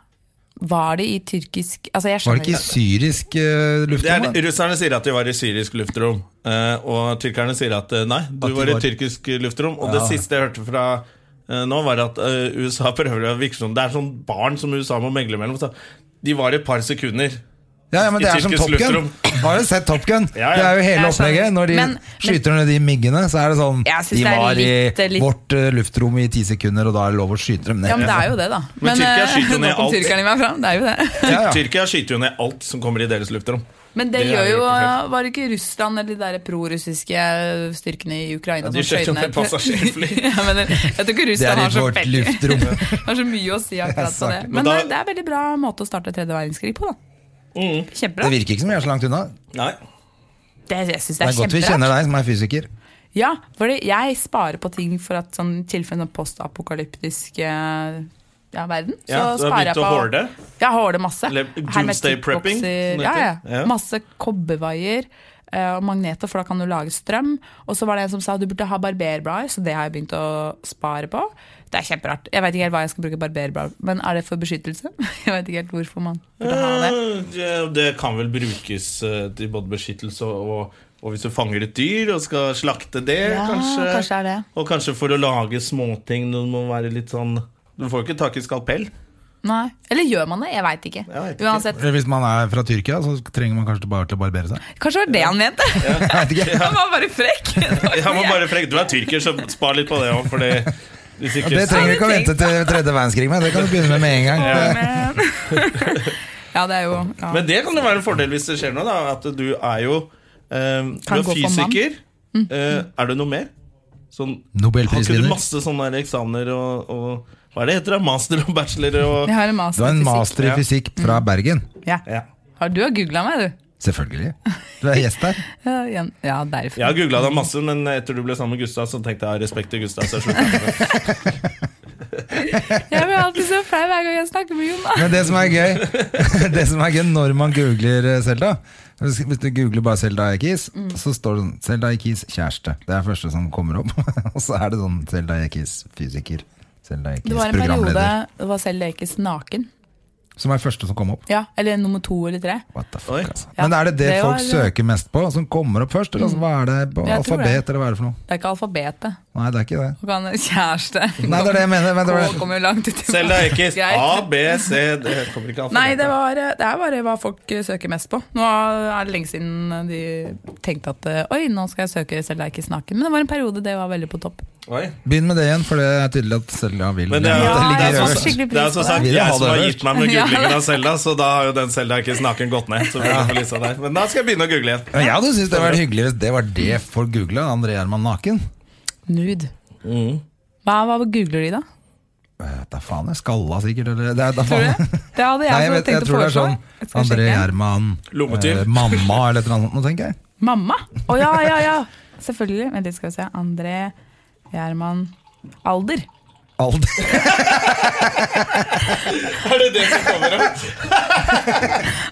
C: Var de i tyrkisk Altså, jeg
B: Var det
C: skjønner
B: ikke i syrisk eh,
A: Det er,
B: luftrom? da?
A: russerne sier at de var i syrisk luftrom, eh, og tyrkerne sier at eh, nei, du
B: At de
A: var i
B: var-
A: tyrkisk luftrom. Og det siste jeg hørte fra eh, nå, var at eh, USA prøver å virke som Det er sånn barn som USA må megle mellom. Så de var et par sekunder.
B: Ja, ja, men det
A: i
B: er som Top
A: tyrkisk
B: Gun. Har du sett Top Gun?
A: Ja, ja.
B: Det er jo hele
C: Jeg skjønner.
B: opplegget. Når de
C: sånn, Men- men-
B: skyter ned de miggene, så er det sånn
C: Jeg synes
B: De
C: det er
B: var
C: litt-
B: i
C: litt-
B: vårt eh, luftrom i ti sekunder, og da er det lov å skyte dem ned.
C: Ja, men det er jo det, da.
A: Men Tyrkia
C: eh,
A: skyter jo ned
C: nå kom
A: alt.
C: tyrkerne i meg fram. Det er jo det.
B: Ja, ja.
A: Tyrkia skyter jo ned alt som kommer i deres luftrom.
C: Men det,
A: Det er
C: gjør
A: jo
C: jo eh,
A: ikke
C: Var det ikke Russland eller de der prorussiske styrkene i Ukraina
A: Ja, de skjøt jo ned passasjerfly.
C: ja, men jeg tror
B: Det
C: ikke
B: er
C: Russland
B: i
C: har så,
B: vårt
C: veldig-
B: luftrom.
C: har så mye å si akkurat på det.
B: sant.
A: Men
C: Men
A: da-
C: eh, det er veldig bra måte å starte tredje verdenskrig på, da.
B: Det
A: Mm.
C: Kjempebra. Det,
B: virker ikke som vi er så langt unna.
A: Nei.
C: jeg synes
B: Det
C: det
B: er
C: er
B: godt vi
C: kjempebra.
B: kjenner deg som er fysiker.
C: Ja, fordi jeg sparer på ting for at sånn tilfelle sånn postapokalyptisk eh, ja, verden. Så
A: Ja, du har
C: sparer jeg
A: begynt å
C: på
A: hoarde?
C: Jeg hoarder masse.
A: Eller doomsday prepping,
C: Hermetikkbokser,
A: som det
C: Ja,
A: heter.
C: ja.
A: Ja.
C: Masse kobbervaier eh, og magneter, for da kan du lage strøm. Og så var det en som sa du burde ha barberblader, så det har jeg begynt å spare på. Det er kjemperart. Jeg veit ikke helt hva jeg skal bruke barberblader Men er det for beskyttelse? Jeg veit ikke helt hvorfor man burde ha det.
A: Eh, Det kan vel brukes eh, til både beskyttelse og, og hvis du fanger et dyr og skal slakte det,
C: Ja,
A: Eh, kanskje.
C: kanskje er det.
A: Og kanskje for å lage småting. Du må være litt sånn Du får jo ikke tak i skalpell.
C: Nei. Eller gjør man det? Jeg veit ikke.
A: Jeg vet ikke.
C: Uansett.
B: Eh, Hvis man er fra Tyrkia, så trenger man kanskje bare til å barbere seg.
C: Kanskje det var det han mente?
B: Jeg vet ikke.
C: Han var bare frekk. Det var ikke
A: Jeg må
C: noe
A: bare frekk. Du er tyrker, så spar litt på det òg, fordi hvis ikke
B: Det trenger du ikke å
C: Hadde tenkt.
B: vente til tredje verdenskrig med. Det kan du begynne med med en gang.
C: jeg- Men- Ja, det er jo ja.
A: Men det kan jo være en fordel hvis det skjer noe, da. At du er jo eh, Du
C: Kan
A: er
C: gå for mann. Mm.
A: fysiker. Eh, er det noe mer? Sånn, har ikke du
B: Nobelprisvinner.
A: masse sånne der eksamener og, og Hva er det heter? da? Master og bachelor og
C: Jeg har en master,
B: Du har en
C: i fysikk.
B: master i
A: Ja.
B: fysikk fra Bergen.
C: Ja.
A: Ja.
C: Har du har googla meg, du?
B: Selvfølgelig. Du er gjest her.
C: Ja, igjen. ja derfor.
A: Jeg har googla deg masse, men etter du ble sammen med Gustav, så tenkte jeg respekt til Gustav. Så jeg sluttet med det.
C: Jeg blir alltid så flau hver gang jeg snakker med Jon.
B: Men det som er gøy Det som er gøy når man googler eh, Zelda Hvis hvis du googler bare Zelda Ekiz
C: Mm.
B: Så står det sånn Zelda Ekiz kjæreste Det er det første som kommer opp Og så er det sånn Zelda Ekiz fysiker Zelda Ekiz
C: Det var en periode
B: programleder
C: det var selv Lekes naken.
B: Som er det første som kom opp
C: Ja, Eller nummer to eller tre.
B: What the
A: Oi.
B: fuck altså
C: Ja,
B: Men er det det,
C: det
B: folk
C: var- Mm.
B: søker mest på Som kommer opp først Eller altså, hva er det på
C: Jeg tror det.
B: alfabet Eller hva er det for noe
C: Det er ikke alfabetet.
B: Nei det er ikke det
C: Og kan kjæreste
B: Nei det er det jeg mener men det var
C: K
B: det.
C: kommer jo langt ut i
A: Selda Ekiz.
C: Greit.
A: A, B, C Det kommer ikke an
C: Nei, det, var, eh, det er bare hva folk eh, søker mest på. Nå er det lenge siden eh, de tenkte at eh, oi, nå skal jeg søke Selda Ekiz naken. Men det var en periode det var veldig på topp.
A: Oi.
B: Begynn med det igjen For det er tydelig at Zelda vil
A: Men det er,
B: gjerne at
C: Ja,
B: ligger
A: det er,
C: jeg
B: øverst.
A: så,
C: skikkelig
A: det er
C: pris
A: så
C: på
A: sagt
B: det.
A: jeg som har
B: Ja.
A: gitt meg med googlingen av Selda, så da har jo den Selda ikke snakken gått ned. Så vi får lisa der. Men da skal jeg begynne å google igjen.
B: Men jeg hadde syntes det var hyggelig hvis det var det folk googlet André Gjermann naken
C: Nude.
B: Mm.
C: Hva, hva googler de, da?
B: Vet Eh, da faen, jeg skalla sikkert eller, det er, da
C: Tror du
B: faen.
C: det? Det hadde jeg,
B: Nei, jeg, vet,
C: også
B: jeg
C: tenkt å
B: tror det er
C: foreslå.
B: sånn
C: Jeg skal
B: André
C: sjekke igjen.
B: Gjerman,
A: Lommetyv.
B: eh, mamma eller et eller annet sånt, nå tenker jeg.
C: Mamma? Å ja, ja, ja. Selvfølgelig. Vent litt, skal vi se. André Gjerman Alder.
B: Alder.
A: Er det det som kommer opp?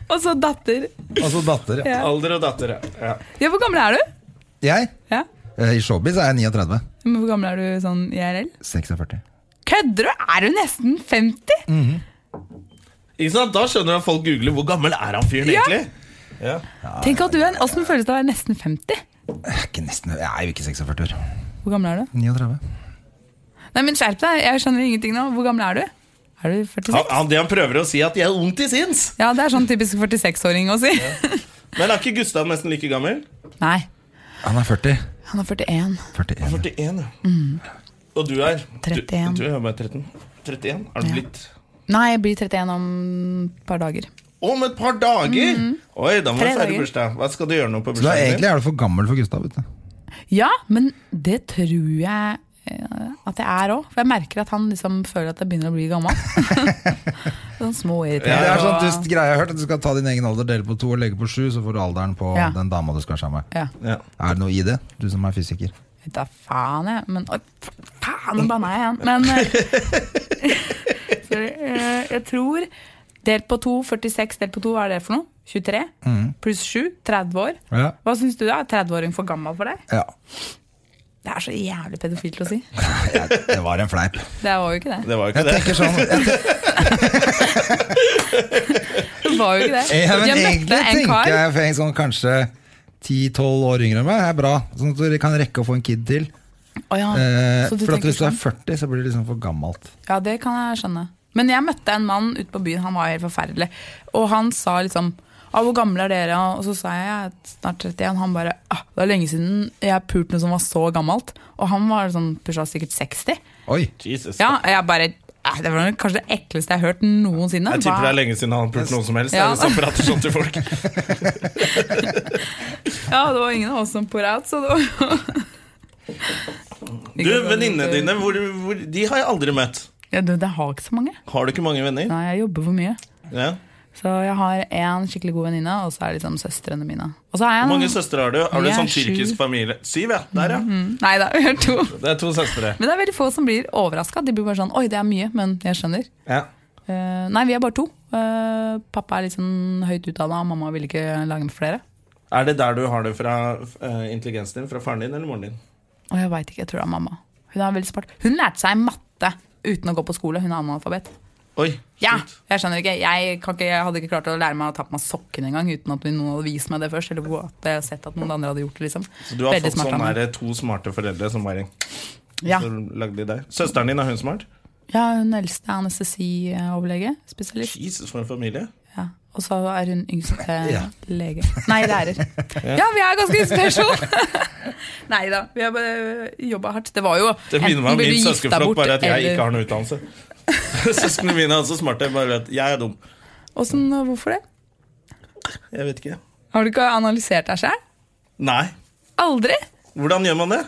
C: Og så datter.
B: Altså datter. Ja.
A: Alder og datter, ja.
C: Ja, hvor gammel er du?
B: Jeg?
C: Ja.
B: eh, I showbiz er jeg 39.
C: Men hvor gammel er du sånn IRL?
B: 46.
C: Kødder du? Er du nesten 50?
A: Ikke sant? Da skjønner du at folk googler hvor gammel er han fyren
C: Ja.
A: egentlig? Ja.
C: Tenk at du er en, Åssen føles det å være nesten 50?
B: Jeg er, ikke nesten, jeg er jo ikke 46 år.
C: Hvor gammel er du?
B: 39.
C: Nei, men Skjerp deg, jeg skjønner ingenting nå. Hvor gammel er du? Er du 46?
A: Han, han, det han prøver å si, er at jeg er ung til sinns.
C: Ja, det er sånn typisk 46-åring å si.
A: Men er ikke Gustav nesten like gammel?
C: Nei,
B: Han er 40.
C: han er 41.
B: 41.
A: 41, ja. Og du er? Du,
C: 31.
A: du er bare 13. 31? Er du blitt
C: Nei, jeg blir 31 om et par dager.
A: Om et par dager! Oi, da må du
C: Tre
A: feire
C: dager.
A: bursdag. Hva skal du gjøre nå på
B: Så da
A: bursdagen
B: egentlig
A: din?
B: er du for gammel for Gustav. Vet du.
C: Ja, men det tror jeg eh, at jeg er òg. For jeg merker at han liksom føler at jeg begynner å bli gammel. sånn små
B: Ja, det
C: irriterende.
B: er sånn dust greie jeg har hørt, at du skal ta din egen alder, dele på to og legge på sju, så får du alderen på
C: Ja.
B: den dama du skal være sammen med.
C: Ja.
A: Ja.
B: Er det noe i det, du som er fysiker?
C: Vet da faen, jeg. Men oi, f- faen, nå banna jeg igjen. Men eh, sorry, eh, jeg tror Delt på to, 46 delt på to, hva er det for noe? 23? Pluss 7? 30 år?
B: Mm. Ja.
C: Hva syns du da? Er 30-åring for gammel for deg?
B: Ja.
C: Det er så jævlig pedofilt å si.
B: Jeg, det var en fleip.
C: Det var jo ikke det.
A: Det var
B: Jeg
A: jo ikke det.
B: tenker sånn jeg, tenker,
C: Det var jo ikke det.
B: ja, men
C: Jeg møtte
B: Egentlig
C: en
B: tenker
C: kar.
B: jeg for en sånn kanskje 10-12 år yngre enn meg er bra. Sånn at du kan rekke å få en kid til.
C: Å ja,
B: Eh,
C: Ah, så du
B: for at
C: tenker
B: hvis du er
C: sånn.
B: 40, så blir det liksom for gammelt.
C: Ja, det kan jeg skjønne. Men jeg møtte en mann ute på byen, han var helt forferdelig. Og han sa liksom «Ah, 'Hvor gamle er dere?' Og så sa jeg «Jeg er snart 31. Han bare ah, 'Det er lenge siden jeg pulte noe som var så gammelt'. Og han var sånn pusha sikkert 60.
B: Oi!
A: Jesus.
C: Ja, og jeg bare «Eh, Det var kanskje det ekleste jeg har hørt noensinne.
A: Jeg tipper det
C: Hva-
A: er lenge siden han har pult noen som helst.
C: Ja.
A: Er det som prater sånn til folk?
C: Ja, det var ingen av oss som por out, så det var
A: Du, venninnene dine, hvor, hvor, de har jeg aldri møtt.
C: Ja, du, det har ikke så mange.
A: Har du ikke mange venner?
C: Nei, jeg jobber for mye.
A: Ja.
C: Så jeg har én skikkelig god venninne, og så er det liksom søstrene mine. Og så har jeg
A: Hvor
C: en-
A: mange søstre har du? Har du
C: Ah, Vi
A: en
C: er
A: sånn tyrkisk
C: sju. Mhm.
A: familie? Syv, ja. Der, ja.
C: Mm. Nei da, vi er to.
A: Det er to søstre.
C: Men det er veldig få som blir overraska. De blir bare sånn Oi, det er mye, men jeg skjønner.
A: Ja.
C: Eh, nei, vi er bare to. Eh, pappa er litt sånn høyt utdanna, og mamma vil ikke lage med flere.
A: Er det der du har det fra eh, intelligensen din? Fra faren din eller moren din?
C: Og jeg veit ikke, jeg tror det er mamma. Hun er veldig smart. Hun lærte seg matte uten å gå på skole. Hun er analfabet.
A: Oi,
C: Ja,
A: shit.
C: jeg skjønner ikke. Jeg, kan ikke. jeg hadde ikke klart å lære meg å ta på meg sokkene engang uten at noen hadde vist meg det først. Eller at jeg hadde sett at noen andre hadde gjort det, liksom.
A: Så du har
C: Veldig
A: fått
C: smart av
A: sånn
C: meg.
A: der, to smarte foreldre som bare
C: Ja.
A: så lagde de deg. Søsteren din, er hun smart?
C: ja, hun eldste er anestesioverlege. Spesialist.
A: Jesus, for en familie.
C: Ja. Og så er hun yngste
B: Ja.
C: lege. Nei, lærer. Ja, vi er ganske spesial! Nei da, vi har bare jobba hardt. Det var jo
A: Det minner meg om
C: enten blir
A: min
C: du gifta
A: søskenflokk,
C: bort,
A: bare at jeg
C: eller-
A: ikke har noen utdannelse. Søsknene mine er også smarte, bare at jeg er dum.
C: Åssen- hvorfor det?
A: Jeg vet ikke.
C: Har du ikke analysert deg sjøl?
A: Nei.
C: Aldri!
A: Hvordan gjør man det?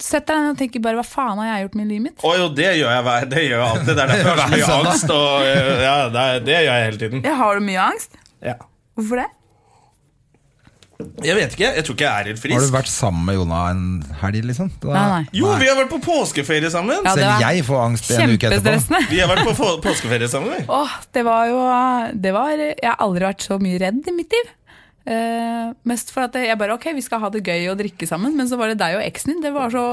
C: Sett deg ned og tenker bare hva faen har jeg gjort med livet mitt?
A: Å jo, det gjør jeg hver Det gjør jeg alltid. Det er derfor jeg har så mye
B: Hver søndag.
A: angst. Og, eh, ja, det, er- det gjør jeg hele tiden.
C: Jeg har du mye angst?
A: Ja.
C: Hvorfor det?
A: Jeg vet ikke. Jeg tror ikke jeg er helt frisk.
B: Har du vært sammen med Jonna en helg, liksom? Da-
C: Nei, nei.
A: Jo, vi har vært på påskeferie sammen!
C: Ja, det
B: Selv
C: var
B: jeg får angst en uke etterpå.
C: Kjempestressende.
A: Vi har vært på få- påskeferie sammen. vi.
C: Åh, det var jo det var, Jeg har aldri vært så mye redd i mitt liv. Eh, mest for at jeg bare Ok, vi skal ha det gøy og drikke sammen, men så var det deg og eksen din. Det var så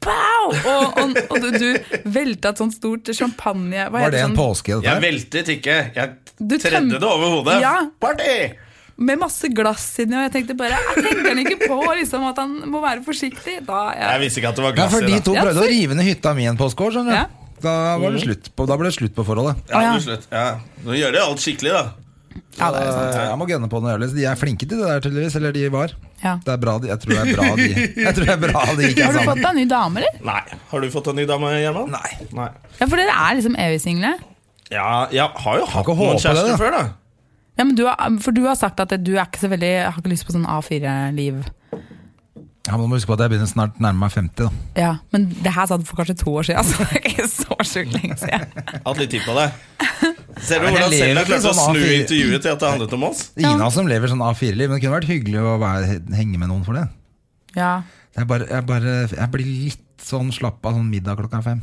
C: Pow! Og, og, og du, du velta et sånt stort champagne hva heter
B: Var det en
C: sånn-
B: påske? dette
A: Jeg
B: her?
A: veltet ikke. Jeg
C: Du
A: tredde
C: tøm-
A: det over hodet.
C: Ja.
A: Party!
C: Med masse glass inni, og jeg tenkte bare Jeg tenker han ikke på liksom, at han må være forsiktig. Da,
A: Jeg
C: jeg,
A: visste ikke at det var
B: Ja,
A: glass
B: for
A: i
B: de
A: det.
B: to
C: Ja,
B: prøvde å
C: for-
B: rive ned hytta mi en påskeår, skjønner du.
C: Ja.
B: Da, var
C: Mm.
B: det slutt på, da ble det slutt på forholdet.
A: Ja,
C: Å, ja.
A: til slutt. Ja. Nå gjør de alt skikkelig, da.
C: ja, det er sant.
B: Eh, Jeg må gønne på noe jævlig. De er flinke til det der, tydeligvis. Eller de var.
C: Ja.
B: Det er bra de, jeg tror det er bra de Jeg tror det er bra de ikke
C: Har
B: er
C: du fått
B: sammen.
C: deg ny dame, eller?
A: Nei. Har du fått en ny dame, Gjerman?
B: Nei.
A: Nei.
C: Ja, For dere er liksom evig single.
A: Ja, jeg har jo hatt
B: ikke
A: noen
B: håpe det,
A: kjærester
B: da.
A: før, da.
C: Ja, men du har, for du har sagt at du er ikke så veldig har ikke lyst på sånn A4-liv.
B: Ja, men du må huske på at jeg begynner snart nærme meg 50, da.
C: Ja, men det her sa du for kanskje to år siden, så det er ikke så sjukt lenge siden.
A: Hatt litt tid på det. Ser
B: Nei, men
A: du
B: jeg
A: hvordan Selja
B: lever ikke
A: klarte å
B: sånn
A: snu
B: A4.
A: intervjuet til liksom at det handlet om oss?
B: Ina som lever sånn A4-liv, men det kunne vært hyggelig å være, henge med noen for det.
C: Ja.
B: Jeg, bare, jeg, bare, jeg blir litt sånn slapp av sånn middag klokka fem.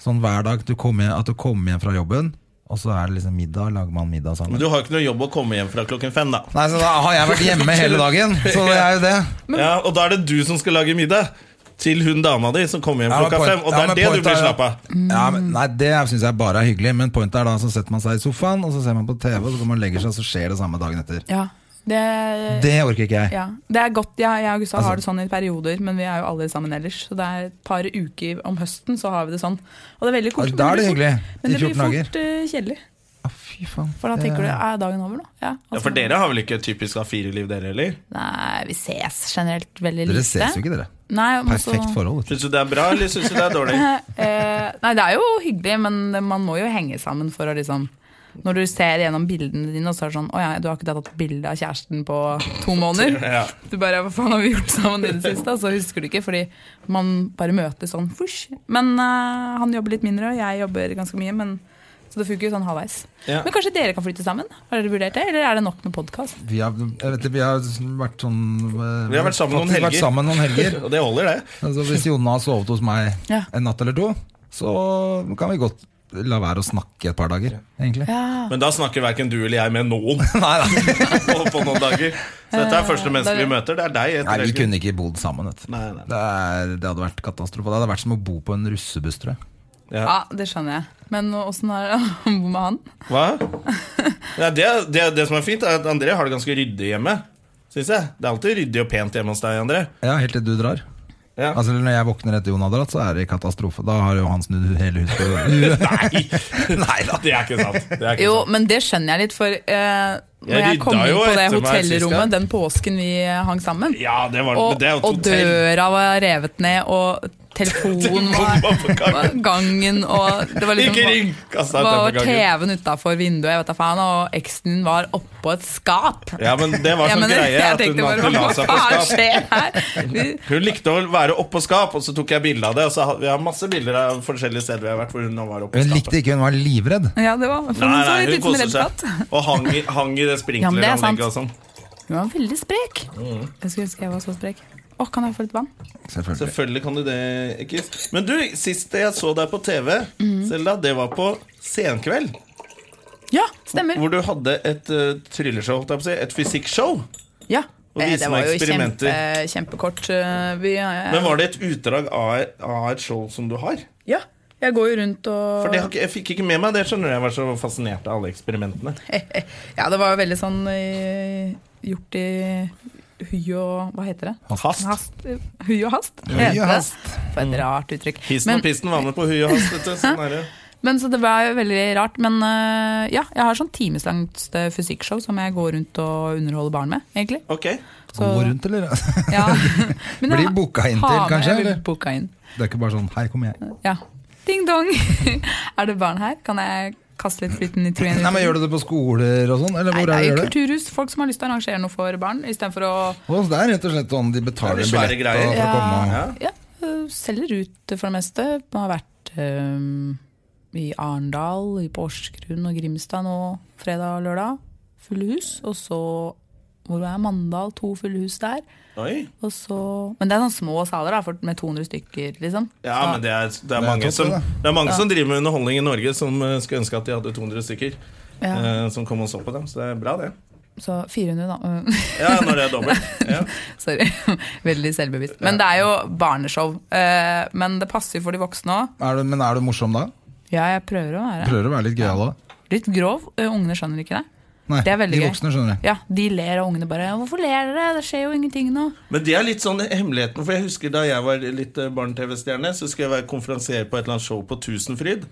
B: Sånn hver dag du kommer hjem, at du kommer hjem fra jobben, og så er det liksom middag, lager man middag sammen.
A: Men du har jo ikke noe jobb å komme hjem fra klokken fem, da.
B: Nei, så da har jeg vært hjemme hele dagen, så det er jo det.
A: Ja, og da er det du som skal lage middag. Til hun dama di som kommer hjem
B: Ja, men
A: klokka
B: point-
A: fem. Og
B: ja,
A: det
B: men
A: er det du
B: point
A: blir
B: er-
A: slapp av.
B: Ja, men, nei, det syns jeg bare er hyggelig. Men pointet er da så setter man seg i sofaen, og så ser man på TV, og så kommer man og legger seg, og så skjer det samme dagen etter.
C: ja. Det,
B: Det Altså- orker ikke jeg.
C: Eh, ja. det er godt. Ja, jeg og Gustav har det sånn i perioder, men vi er jo aldri sammen ellers. Så det er et par uker om høsten, så har vi det sånn. Og det er veldig kort.
B: Ja, Altså, da er det hyggelig,
C: Men
B: i
C: det blir
B: 14 dager.
C: fort eh, kjedelig.
B: Å, fy faen.
C: For da tenker du er dagen over nå? Ja,
A: Ja,
C: altså-
A: For dere har vel ikke et typisk A4-liv, dere heller?
C: Nei, vi ses generelt veldig lite.
B: Dere ses jo ikke, dere.
C: Nei, men så-
A: Altså-
B: Perfekt forhold. vet du.
A: Syns du det er bra, eller syns du det er dårlig?
C: Eh, nei, det er jo hyggelig, men man må jo henge sammen for å liksom Når du ser gjennom bildene dine, og så er det sånn Å ja, du har ikke tatt bilde av kjæresten på to måneder.
A: Ja.
C: Du bare Hva faen har vi gjort sammen i det siste? Og så husker du ikke, fordi man bare møtes sånn fush. Men eh, han jobber litt mindre, og jeg jobber ganske mye, men så det funker jo sånn halvveis.
A: Ja.
C: Men kanskje dere kan flytte sammen? Har dere vurdert det, eller er det nok med podkast?
B: Vi har, jeg vet, ikke, vi har vært sånn
A: Vi har vært sammen noen
B: faktisk vært
A: helger.
B: sammen noen helger.
A: Og det holder, det.
B: Altså, hvis Jonna har sovet hos meg
C: Ja.
B: en natt eller to, så kan vi godt la være å snakke et par dager, egentlig.
A: Men da snakker verken du eller jeg med noen
B: Nei, nei.
A: på, på noen dager. Så dette er første menneske vi møter. Det er deg.
B: nei,
A: etter
B: vi
A: helgen.
B: kunne ikke bodd sammen. Vet. du.
A: Nei, nei.
B: Det, er, det hadde vært katastrofe. Det hadde vært som å bo på en russebuss, tror jeg.
C: Ja, det skjønner jeg. Men åssen er det med han?
A: Hva? Nei, det, det, det som er fint, er at André har det ganske ryddig hjemme. Synes jeg Det er alltid ryddig og pent hjemme hos deg, André.
B: Ja, Helt til du drar.
A: Ja.
B: Altså Når jeg våkner etter Jon hadde dratt, så er det katastrofe. Da har jo han snudd hele huset på huet.
A: Nei,
B: Nei da.
A: det er ikke sant. Det er ikke
C: Jo,
A: sant.
C: men det skjønner jeg litt, for eh, når
A: Jeg
C: jeg, kom
A: rydda
C: inn
A: jo
C: på det
A: etter meg sist gang.
C: hotellrommet den påsken vi eh, hang sammen,
A: Ja, det var
C: og,
A: det. er jo et
C: og
A: hotell.
C: døra var revet ned, og telefonen
A: Telefonen var på
C: var var gangen, og det var liksom
A: Ikke ring! Kast deg
C: var
A: utenfor gangen.
C: TV-en utafor vinduet, jeg vet da faen, og eksen din var oppå et skap.
A: Ja, men det var
C: Jeg
A: sånn
C: mener,
A: greie
C: jeg
A: at hun
C: tenkte bare,
A: alltid la
C: hva
A: seg på
C: faen
A: skap.
C: skjer her? Vi-
A: Hun likte å være oppå skap, og så tok jeg bilde av det. Og så har, vi har masse bilder av forskjellige steder vi har vært hvor hun var oppå
B: Hun
A: skapet.
B: likte ikke, hun var livredd.
C: Ja, det var for
A: Nei,
C: hun så
A: nei,
C: litt
A: hun
C: ut som en
A: koser
C: redd
A: seg.
C: katt.
A: Og hang i, hang i det
C: Ja, men det er sant.
A: sprinkleranlegget og sånn.
C: Hun var veldig sprek.
A: Mm.
C: Jeg skulle ønske jeg var så sprek. Å, kan jeg få litt vann?
B: Selvfølgelig.
A: Selvfølgelig kan du det, Kis. Men du, sist jeg så deg på TV,
C: Mhm.
A: Selda, det var på Senkveld.
C: Ja, stemmer.
A: Hvor du hadde et eh, trylleshow, holdt jeg på å si. Et fysikkshow.
C: Ja.
A: Og
C: Eh,
A: vise
C: Det
A: meg
C: var jo
A: eksperimenter.
C: kjempe, kjempekort. eh, Vi, eh,
A: Men var det et utdrag av, av et show som du har?
C: Ja. Jeg går jo rundt og
A: For det har ikke, jeg fikk ikke med meg det, skjønner du. Jeg var så fascinert av alle eksperimentene.
C: Eh, Ja, det var jo veldig sånn eh, gjort i hui og Hva heter det?
A: Hast.
C: Hast. eh, Hui og hast?
B: og
C: heter det.
B: hast. Mm.
C: For et rart uttrykk.
A: Hissen
C: Men,
A: og pisten var med på huet hans. vet du. Sånn er det.
C: men så det var jo veldig rart. Men eh, ja, jeg har sånn timeslangt eh, fysikkshow som jeg går rundt og underholder barn med, egentlig.
A: Ok.
C: Så-
B: Gå rundt, eller?
C: Ja. Men
B: Blir
C: jeg-
B: booka inn til,
C: Ha med,
B: kanskje,
C: Jeg blir
B: eller?
C: booka inn.
B: Det er ikke bare sånn 'hei, kom jeg'.
C: Ja. Ding dong! er det barn her? Kan jeg kaste litt flytende nitrogen?
B: Nei, men Gjør du det på skoler og sånn? Eller
C: Nei,
B: hvor
C: det
B: er det
C: er
B: du
C: jo
B: gjør det?
C: kulturhus. Folk som har lyst til å arrangere noe for barn. Istedenfor å
B: Og det er rett og slett sånn de betaler
A: Det
B: en
A: er svære
B: billett
A: greier.
B: og- for å komme.
A: Ja.
C: ja, øh, selger ut for det meste. Man har vært øhm, i Arendal, i Porsgrunn og Grimstad nå fredag og lørdag. Fulle hus. Og så hvor er Mandal? To fulle hus der.
A: Oi.
C: Og så, men det er sånne små saler da, for, med 200 stykker, liksom.
A: Ja,
C: Så-
A: men det er, det er
B: er
A: mange,
B: topp,
A: som,
B: det,
A: det er mange som driver med underholdning i Norge, som eh, skulle ønske at de hadde 200 stykker
C: Ja.
A: eh, som kom og så på dem. Så det er bra, det.
C: Så 400, da.
A: Ja, når det er dobbelt. Ja.
C: Sorry. Veldig selvbevisst. Men det er jo barneshow. eh, Men det passer jo for de voksne òg.
B: Er du, men er du morsom da?
C: Ja, jeg prøver å være
B: Prøver å være litt gøyal da?
C: litt grov. eh, Ungene skjønner ikke det.
B: Nei,
C: Det er veldig
B: de
C: gøy.
B: voksne skjønner jeg.
C: Ja, De ler, og ungene bare 'Hvorfor ler dere? Det skjer jo ingenting nå'.
A: Men det er litt sånn hemmeligheten, for jeg husker da jeg var litt eh, barne-TV-stjerne, så skulle jeg være konferansier på et eller annet show på Tusenfryd.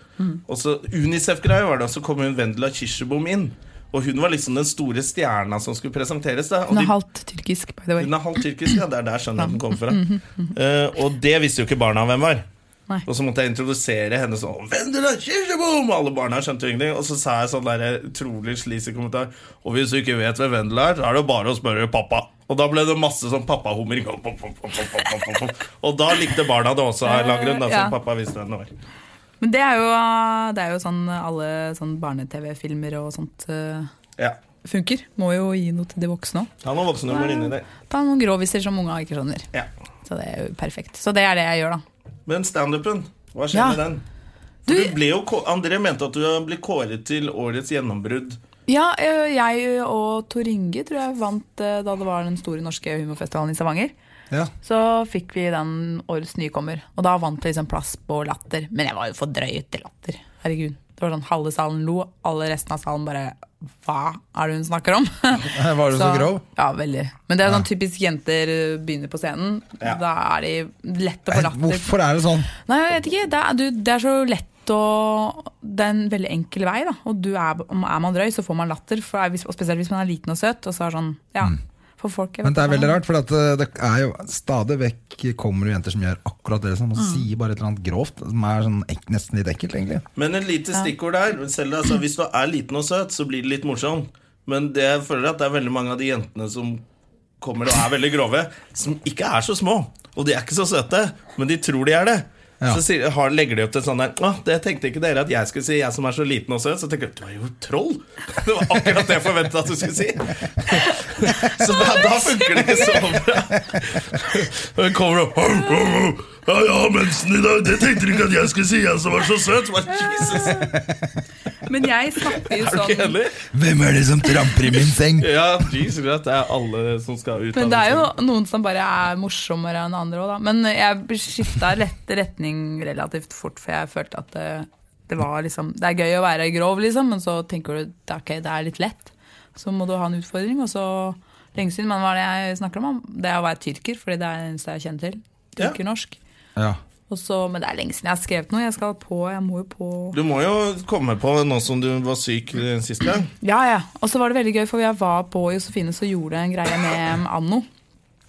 A: Og så Unicef-greia var det, og så kom hun Vendela Kirsebom inn. Og hun var liksom den store stjerna som skulle presenteres. da. Og
C: Hun er
A: de-
C: halvt tyrkisk, by the way.
A: Hun er halvt tyrkisk, ja. Det er der skjønnheten kommer fra. Eh, og det visste jo ikke barna hvem var.
C: Nei.
A: Og så måtte jeg introdusere henne sånn Vendela Kirsebom! Og alle barna skjønte jo ingenting. Og så sa jeg sånn der utrolig sleazy kommentar. Og hvis du ikke vet hvem Vendela er, så er det bare å spørre pappa. Og da ble det masse sånn pappahummer. Pop, pop, pop, pop, pop, pop, pop, pop. Og da likte barna det også av en eller annen grunn, da,
C: Ja.
A: som pappa visste hvem det var.
C: Men det er jo, det er jo sånn alle sånn barne-TV-filmer og sånt eh,
A: Ja.
C: funker. Må jo gi noe til de voksne òg.
A: Han var voksenhumor inni der.
C: Ta noen groviser som unga ikke skjønner.
A: Ja.
C: Så det er jo perfekt. Så det er det jeg gjør, da.
A: Men standupen, hva skjer
C: Ja.
A: med den?
C: Du-
A: Du, du ble jo, kå- André mente at du ble kåret til årets gjennombrudd.
C: Ja, eh, jeg og Tor Inge tror jeg vant eh, da det var den store norske humorfestivalen i Stavanger.
B: Ja.
C: Så fikk vi den årets nykommer, og da vant vi liksom plass på latter. Men jeg var jo for drøy til latter. Herregud. Det var sånn Halve salen lo, alle resten av salen bare Hva er det hun snakker om?
B: Var du så grov?
C: Ja, veldig. Men det er sånn typisk jenter eh, begynner på scenen. Da er de lette for latter.
B: Hvorfor er det sånn?
C: Nei, jeg vet ikke. Det er, du, det er så lett og det er en veldig enkel vei. da Og du er, om er man drøy, så får man latter. For er, hvis- og spesielt hvis man er liten og søt. Og så er sånn, ja For folk jeg
B: Mm. Men
C: vet
B: det er
C: ikke hva-
B: veldig rart, for at eh, det er jo stadig vekk kommer det jenter som gjør akkurat det som og
C: Mm.
B: sier bare et eller annet grovt, som er sånn ek nesten litt ekkelt, egentlig.
A: Men et lite stikkord der. Selv altså, hvis du er liten og søt, så blir det litt morsom. Men det, jeg føler at det er veldig mange av de jentene som kommer og er veldig grove, som ikke er så små. Og de er ikke så søte, men de tror de er det.
B: Ja.
A: Så sier, har, legger de opp til sånn der Å, det tenkte ikke dere at jeg skulle si, jeg som er så liten og søt. Så tenker jeg du er jo troll! Det var akkurat det jeg forventet at du skulle si. Så da, da funker det ikke så bra. Og hun kommer opp «Au, au, au. Ja, ja, mensen i dag. Det tenkte dere ikke at jeg skulle si, jeg som var så søt. Bare, Jesus
C: Men jeg snakker jo
A: ikke
C: sånn
A: heller.
B: Hvem er det som tramper i min seng?
A: Ja, Jesus Christ, det er alle som skal ut.
C: Men det er jo noen som bare er morsommere enn andre òg, da. Men jeg skifta rett retning relativt fort, for jeg følte at det, det var liksom Det er gøy å være grov, liksom, men så tenker du det er, ok, det er litt lett. Så må du ha en utfordring, og så Lenge siden, men hva er det jeg snakker om? Det er å være tyrker, fordi det er det eneste jeg kjenner til.
A: Ja.
C: Tyrkernorsk.
B: Ja.
C: Og så, men det er lenge siden jeg har skrevet noe. Jeg skal på, jeg må jo på
A: Du må jo komme på nå som du var syk eh, sist gang.
C: Ja, ja. Og så var det veldig gøy, for jeg var på Josefine så gjorde jeg en greie med Anno.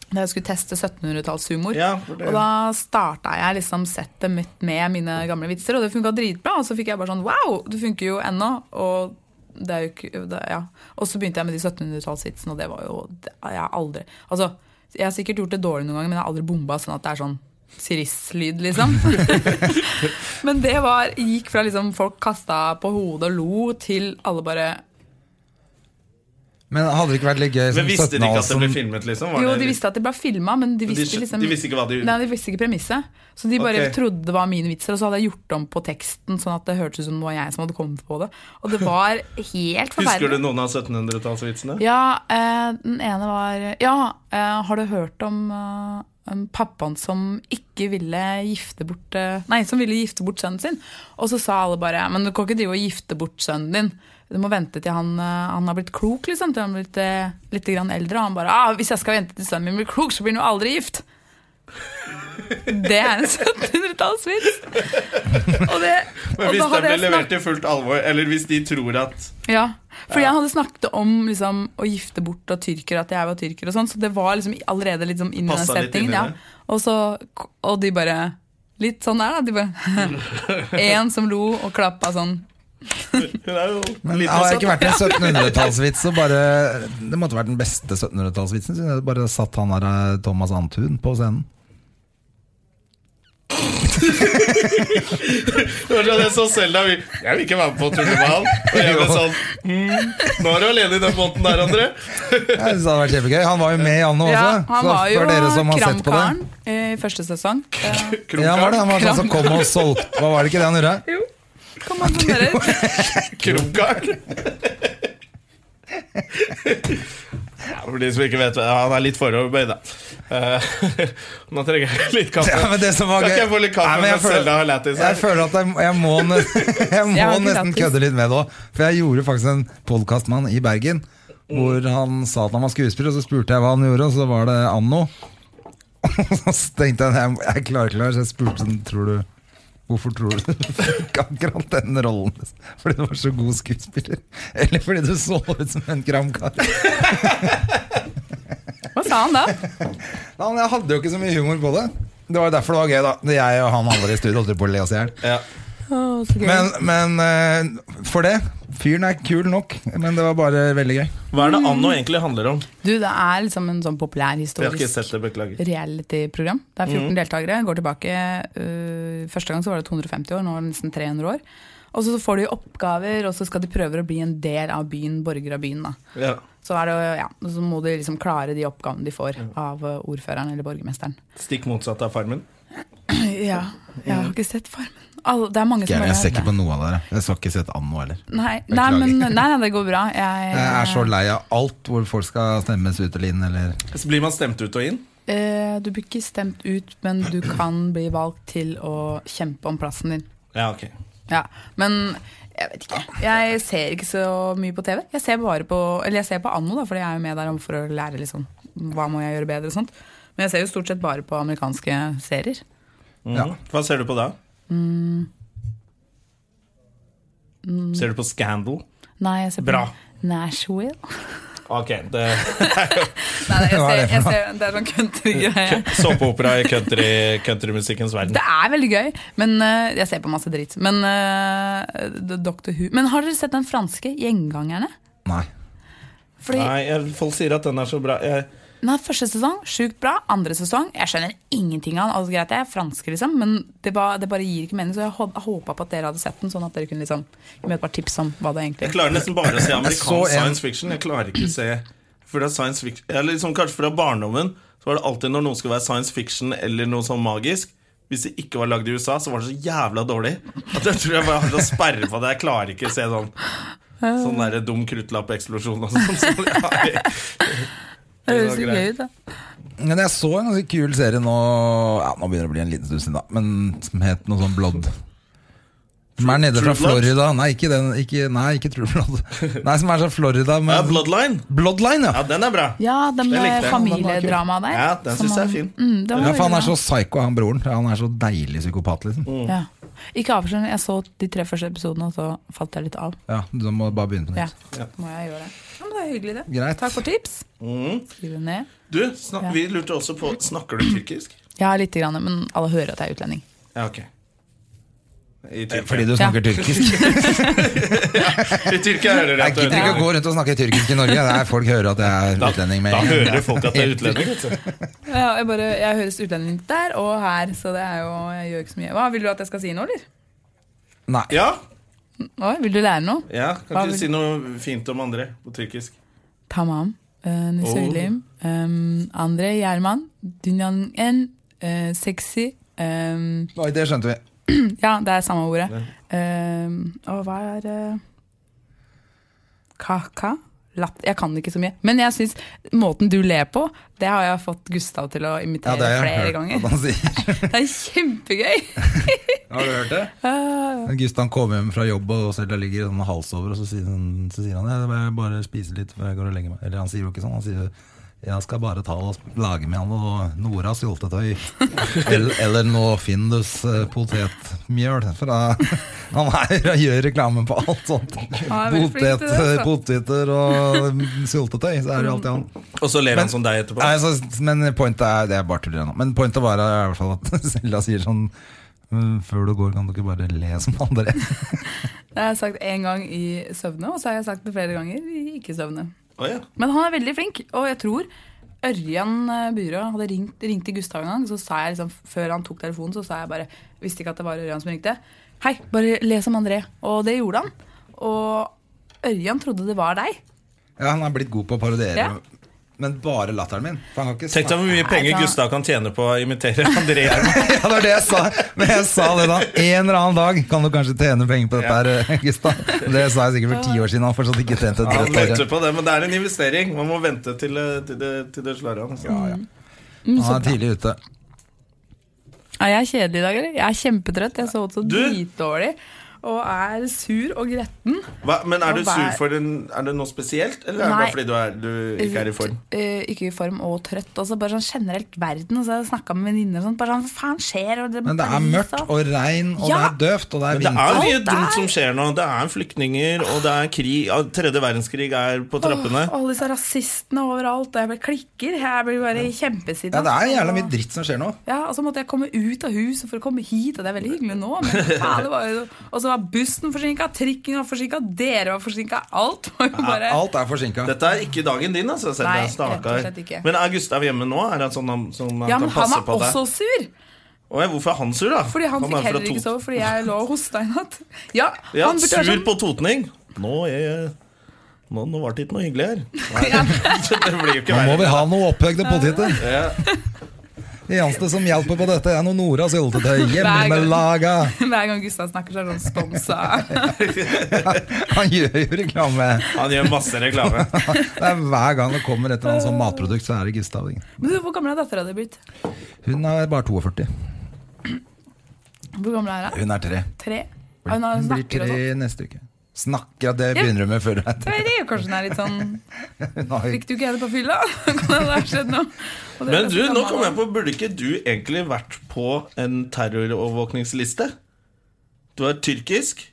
C: Da jeg skulle teste 1700-tallshumor.
A: Ja, for det-
C: og da starta jeg liksom settet mitt med mine gamle vitser, og det funka dritbra. Og så fikk jeg bare sånn wow, det funker jo ennå. Og det er jo ikke det, ja. Og så begynte jeg med de 1700-tallsvitsene, og det var jo det, Jeg har aldri Altså, jeg har sikkert gjort det dårlig noen ganger, men jeg har aldri bomba sånn at det er sånn Siris-lyd, liksom. men det var gikk fra liksom folk kasta på hodet og lo, til alle bare
B: Men hadde det ikke vært litt gøy
A: Men
B: som
A: visste de ikke at det ble
B: 17-åringen
A: filmet, liksom? Var
C: Jo,
A: det-
C: de visste at det ble filma, men de
A: de
C: visste
A: skj-
C: liksom
A: de visste ikke hva de-
C: Nei, de visste ikke premisset. Så de bare
A: Ok.
C: trodde det var mine vitser, og så hadde jeg gjort om på teksten sånn at det hørtes ut som det var jeg som hadde kommet på det. Og det var helt
A: Husker du
C: forferdelig.
A: noen av 1700-tallsvitsene?
C: Ja, eh, den ene var Ja, eh, har du hørt om eh, om pappaen som ikke ville gifte bort eh, Nei, som ville gifte bort sønnen sin. Og så sa alle bare Men du kan ikke drive og gifte bort sønnen din. Du må vente til han, eh, han har blitt klok, liksom. Til han har blitt eh, litt grann eldre. Og han bare ah, 'Hvis jeg skal vente til sønnen min blir klok, så blir han jo aldri gift'. Det er en 1700-tallsvits! Og det
A: Men
C: og
A: hvis
C: da
A: det ble
C: hadde jeg snakket-
A: levert i fullt alvor, eller hvis de tror at
C: ja, for jeg hadde snakket om liksom, å gifte bort av tyrkere, at jeg var tyrker og sånn, så det var liksom allerede litt sånn inn i den
A: Passet litt inn i
C: settingen. Ja.
A: det.
C: Og, så, og de bare Litt sånn der, da. De bare En som lo og klappa sånn.
A: Hun er jo
B: Men
A: liten og
B: hadde det
A: søt.
B: ikke vært en 1700-tallsvits, så bare Det måtte vært den beste 1700-tallsvitsen, siden jeg bare satt han der eh, Thomas Antun på scenen.
A: Det var sånn Jeg så Selda vi- Jeg vil ikke være med på turné med han. Og jeg ble sånn mm, Nå er du alene i den båten der, André.
B: Jeg synes det hadde vært kjempegøy. Han var jo med i Anno også.
C: Ja, han
B: så
C: var jo
B: for dere som har sett på det.
C: kramkaren eh, i første sesong. Eh,
B: Ja, han var det. Han var sånn som kom og solgte Hva var det ikke det han gjorde?
C: Kom an, sånn dere.
A: Krumkaren. For de som ikke vet ja, Han er litt foroverbøyd, da. Eh, nå trenger jeg litt kaffe.
B: Ja, men det som var
A: Kan
B: gøy
A: ikke jeg få litt kaffe
B: Nei, men jeg
A: mens
B: føler-
A: Selda har lættis her?
B: Jeg føler at jeg, jeg må, nø- jeg må
C: Jeg har ikke
B: nesten
C: lættis.
B: kødde litt med det òg. For jeg gjorde faktisk en podkast med han i Bergen.
C: Mm.
B: Hvor han sa at han var skuespiller, og så spurte jeg hva han gjorde, og så var det Anno. Og så tenkte jeg jeg, jeg klarer ikke det her, så jeg spurte sånn Tror du Hvorfor tror du du fikk akkurat den rollen? Fordi du var så god skuespiller? Eller fordi du så ut som en kramkar?
C: Hva sa han da?
B: Han jeg hadde jo ikke så mye humor på det. Det var jo derfor det var gøy, da. Når Jeg og han andre i studio holdt på å le oss i hjel.
A: Ja.
C: Å, så gøy.
B: Men, men eh, for det. Fyren er kul nok, men det var bare veldig gøy.
A: Hva er det Anno egentlig handler om?
C: du, det er liksom en sånn populær
A: Jeg har ikke
C: historisk
A: sett det, beklager.
C: reality-program. Det er 14 deltakere. Går tilbake øh, Første gang så var det 250 år, nå er det nesten 300 år. Og så får de oppgaver, og så skal de prøve å bli en del av byen, borger av byen. da.
A: Ja.
C: Så, er det, jo- ja, så må de liksom klare de oppgavene de får av øh, ordføreren eller borgermesteren.
A: Stikk motsatt av Farmen.
C: Ja, jeg har ikke sett Farmen. Alle, det er mange som
B: Jeg,
C: bare-
B: ser ikke på noe av dere. Jeg skal ikke sett Anno heller.
C: Nei, nei,
B: Beklager.
C: men, nei, nei, det går bra. Jeg,
B: Jeg er så lei av alt hvor folk skal stemmes ut eller inn, eller
A: Så blir man stemt ut og inn.
C: Eh, du blir ikke stemt ut, men du kan bli valgt til å kjempe om plassen din.
A: Ja, ok
C: Ja, men jeg vet ikke. Jeg ser ikke så mye på TV. Jeg ser bare på Eller jeg ser på Anno, da, fordi jeg er jo med der om for å lære liksom, hva må jeg gjøre bedre og sånt. Men jeg ser jo stort sett bare på amerikanske serier.
B: Mm.
A: Mhm. Hva ser du på da? Ser du på Scandal?
C: Nei, jeg ser på
A: Bra.
C: Nashville.
A: Ok, det
C: Nei, jeg
B: Hva er
C: ser,
B: det for
C: jeg
B: noe?
C: ser, det er sånn country-greie.
A: såpeopera i country, countrymusikkens verden.
C: Det er veldig gøy, men eh, jeg ser på masse dritt. Men eh, Dr. Who Men har dere sett den franske Gjengangerne?
B: Nei.
C: Fordi, nei.
A: Nei, jeg, folk sier at den er så bra. Jeg,
C: Første sesong sjukt bra. Andre sesong jeg skjønner ingenting av den. Altså, greit, jeg er fransk, liksom, men det, ba, det bare gir ikke mening. Så jeg håpa på at dere hadde sett den, sånn at dere kunne liksom, gi meg et par tips om hva det egentlig
A: jeg klarer nesten bare å se
B: så en-
A: amerikansk science fiction. Jeg klarer ikke å se for det er science fiction Eller liksom Kanskje fra barndommen Så var det alltid når noe skulle være science fiction eller noe sånn magisk. Hvis det ikke var lagd i USA, så var det så jævla dårlig at jeg tror jeg bare hadde å sperre på det. Jeg klarer ikke å se sånn Sånn der dum kruttlappeksplosjon og sånn. Så jeg,
C: Det
A: var
C: høres så
A: greit.
C: gøy ut, da.
B: Men jeg så en ganske kul serie nå Ja, nå begynner det å bli en liten stund siden, da. Men som het noe sånn Blood. Som er nede
A: True
B: fra
A: Blood?
B: Florida. Nei, ikke den. Ikke, nei, ikke True Blood. Nei, som er fra Florida.
A: ja,
B: Men
A: Bloodline.
B: Bloodline, ja!
A: Ja, den er bra.
C: Ja, den
A: Jeg likte
C: med
A: den.
C: familiedramaet der.
A: Ja, den
C: som
A: synes jeg er
C: han-
A: fin.
C: Mm, den var
B: Ja, for han
C: veldig
B: er så
C: bra.
B: psycho, han broren. Ja, Han er så deilig psykopat,
A: Mm.
B: liksom.
C: Ja. Ikke avslør, jeg så de tre første episodene, og så falt jeg litt av.
B: Ja, Du må bare begynne på
C: Ja,
B: nytt.
C: må jeg gjøre det. Ja, men det er hyggelig, det.
B: Greit.
C: Takk for tips. Skriv det ned.
A: Mhm. Du, snak, vi lurte også på Snakker du tyrkisk?
C: Ja, lite grann, men alle hører at jeg er utlending.
A: Ja, ok I Tyrkia,
B: Eh, Fordi du snakker tyrkisk.
A: I Tyrkia hører de
B: Jeg
A: at du er
B: gidder ikke å
A: utlending.
B: gå rundt og snakke tyrkisk i Norge. Nei, folk hører at jeg er utlending med
A: Da
B: en gang.
A: hører folk at det er utlending.
C: Ja, jeg, bare, jeg høres utlending der og her, så det er jo, jeg gjør ikke så mye. Hva, Vil du at jeg skal si noe, eller?
B: Nei.
A: Ja,
C: Oi, vil du lære noe?
A: ja,
C: Hva
A: kan ikke
C: vil-
A: du si noe fint om andre på tyrkisk?
C: Tamam. Eh, Ee,
B: Oh.
C: söyleyeyim. Em, eh, Andre Gjerman, dünyanın en e, seksi em,
B: Oi, det skjønte vi.
C: eh, Ja, det er samme ordet. Em, og hva er eh, Kaka? Latt, jeg kan ikke så mye. Men jeg syns måten du ler på, det har jeg fått Gustav til å
B: Ja,
C: imitere
B: det har jeg
C: flere
B: hørt
C: ganger.
B: at han sier.
C: Det er kjempegøy!
B: Har du hørt det?
C: Eh.
B: Men Gustav kommer hjem fra jobb og selv der ligger sånn hals over, og så sier, han- så sier han ja, jeg bare spise litt før jeg går og legger meg. Eller han sier jo ikke sånn, han sier jeg skal bare ta og lage med han noe Nora syltetøy. Eller, eller noe Findus eh, potetmjøl. For da, han er og gjør reklame på alt sånt.
C: Han er veldig flink til
B: Potet, eh,
C: det, altså.
B: poteter og mm, syltetøy, så er det jo alltid han.
A: Og så ler
B: Men-
A: han som deg etterpå.
B: Nei, altså, men pointet er Det er bare tuller nå. Men pointet var i hvert fall at Selda sier sånn «Mm, Før du går, kan du ikke bare le som andre?
C: Det har jeg sagt én gang i søvne, og så har jeg sagt det flere ganger i ikke-søvne.
A: Å, ja.
C: Men han er veldig flink, og jeg tror Ørjan eh, Byrå hadde ringt, ringt til Gustav en gang, så sa jeg liksom, før han tok telefonen, så sa jeg bare, visste ikke at det var Ørjan som ringte, hei, bare les om André, og det gjorde han. Og Ørjan trodde det var deg.
B: Ja, han er blitt god på å parodiere,
C: Ja.
B: men bare latteren min. For han har ikke
A: Tenk deg
B: snakket-
A: hvor mye penger
C: da-
A: Gustav kan tjene på å imitere André Gjerman.
B: ja, det var det jeg sa. Men jeg sa det da. En eller annen dag kan du kanskje tjene penger på dette her, Gustav. Det sa jeg sikkert for ti år siden. Han har fortsatt ikke tjent et
A: Han
B: rødt øre.
A: venter på det, men det er en investering. Man må vente til, det- til, det- til det slår an. altså.
C: Mm,
B: Han er tidlig ute.
C: Er jeg kjedelig i dag, eller? Jeg er kjempetrøtt, jeg så ut så
A: Du?
C: dritdårlig, og er sur og gretten.
A: Hva, men er du
C: Og hva
A: sur
C: er-
A: for en, Er det noe spesielt, eller er det
C: Nei.
A: bare fordi du, er, du ikke er i form?
C: Eh, ikke i form og trøtt, altså bare sånn generelt verden, og så har jeg snakket med venninner og sånn, bare sånn, hva faen skjer? Og sånn.
B: Men det er
C: Paris,
B: mørkt og regn, og det
C: Ja.
B: er døvt, og det er
A: Det
B: vinter.
A: er
C: Alt
A: mye
C: er-
A: dumt som skjer nå. Det er flyktninger, og det er krig. Ja, Tredje verdenskrig er på trappene.
C: Åh, alle disse rasistene overalt, og jeg ble klikker. Jeg blir bare kjempesinna.
B: Ja, det er jævla mye dritt som skjer nå.
C: Ja, og så måtte jeg komme ut av huset for å komme hit, og det er veldig hyggelig nå. Men faen, det var jo Og så var bussen forsinka, trikken var forsinka, dere var forsinka. Alt var jo bare
B: Alt er forsinka.
A: Dette er ikke dagen din, altså. Selda.
C: Nei,
A: Stakkar.
C: rett og slett ikke.
A: Men er Gustav hjemme nå? Er han sånn han, sånn han
C: Ja, men
A: kan
C: han
A: passe
C: var
A: på
C: også
A: deg?
C: sur,
A: Åja, hvorfor er han sur, da?
C: fordi han,
A: er
C: fikk
A: fra
C: heller ikke
A: Tot-
C: sove fordi jeg lå og hosta i natt. Ja,
A: Ja,
C: han burde
A: sur
C: vært sånn
A: på totning. Nå er jeg nå, nå var det ikke noe hyggelig her. det blir jo ikke
B: Nå må vi
A: verre.
B: ha noe opphøgde poteter. Det eneste som hjelper på dette, er noe Nora syltetøy. Hjemmelaga.
C: sånn. hver gang Gustav snakker, så er det sånn sponsa.
B: Han gjør jo reklame.
A: Han gjør masse reklame.
B: Det er Hver gang det kommer et eller annet sånt matprodukt, så er det Gustav. ikke?
C: Men du, hvor gammel er dattera di blitt?
B: Hun er bare 42.
C: Hvor gammel er hun?
B: Hun er tre.
C: Tre? Ja, Hun har
B: Hun blir
C: snakker og
B: tre
C: sånn.
B: neste uke. Snakker at det begynner hun med før hun er
C: Jeg
B: tre.
C: vet ikke, Kanskje hun er litt sånn
B: Hun har jo-
C: Fikk du ikke henne på fylla? kan det ha skjedd noe? Og det
A: Men
C: er
A: du,
C: så
A: nå
C: gammel.
A: kom jeg på, burde ikke du egentlig vært på en terrorovervåkningsliste? Du er tyrkisk.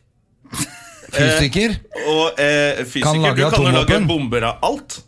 B: Fysiker?
A: Og eh, fysiker,
B: Kan lage
A: du kan jo lage
B: atomvåpen.
A: bomber av alt.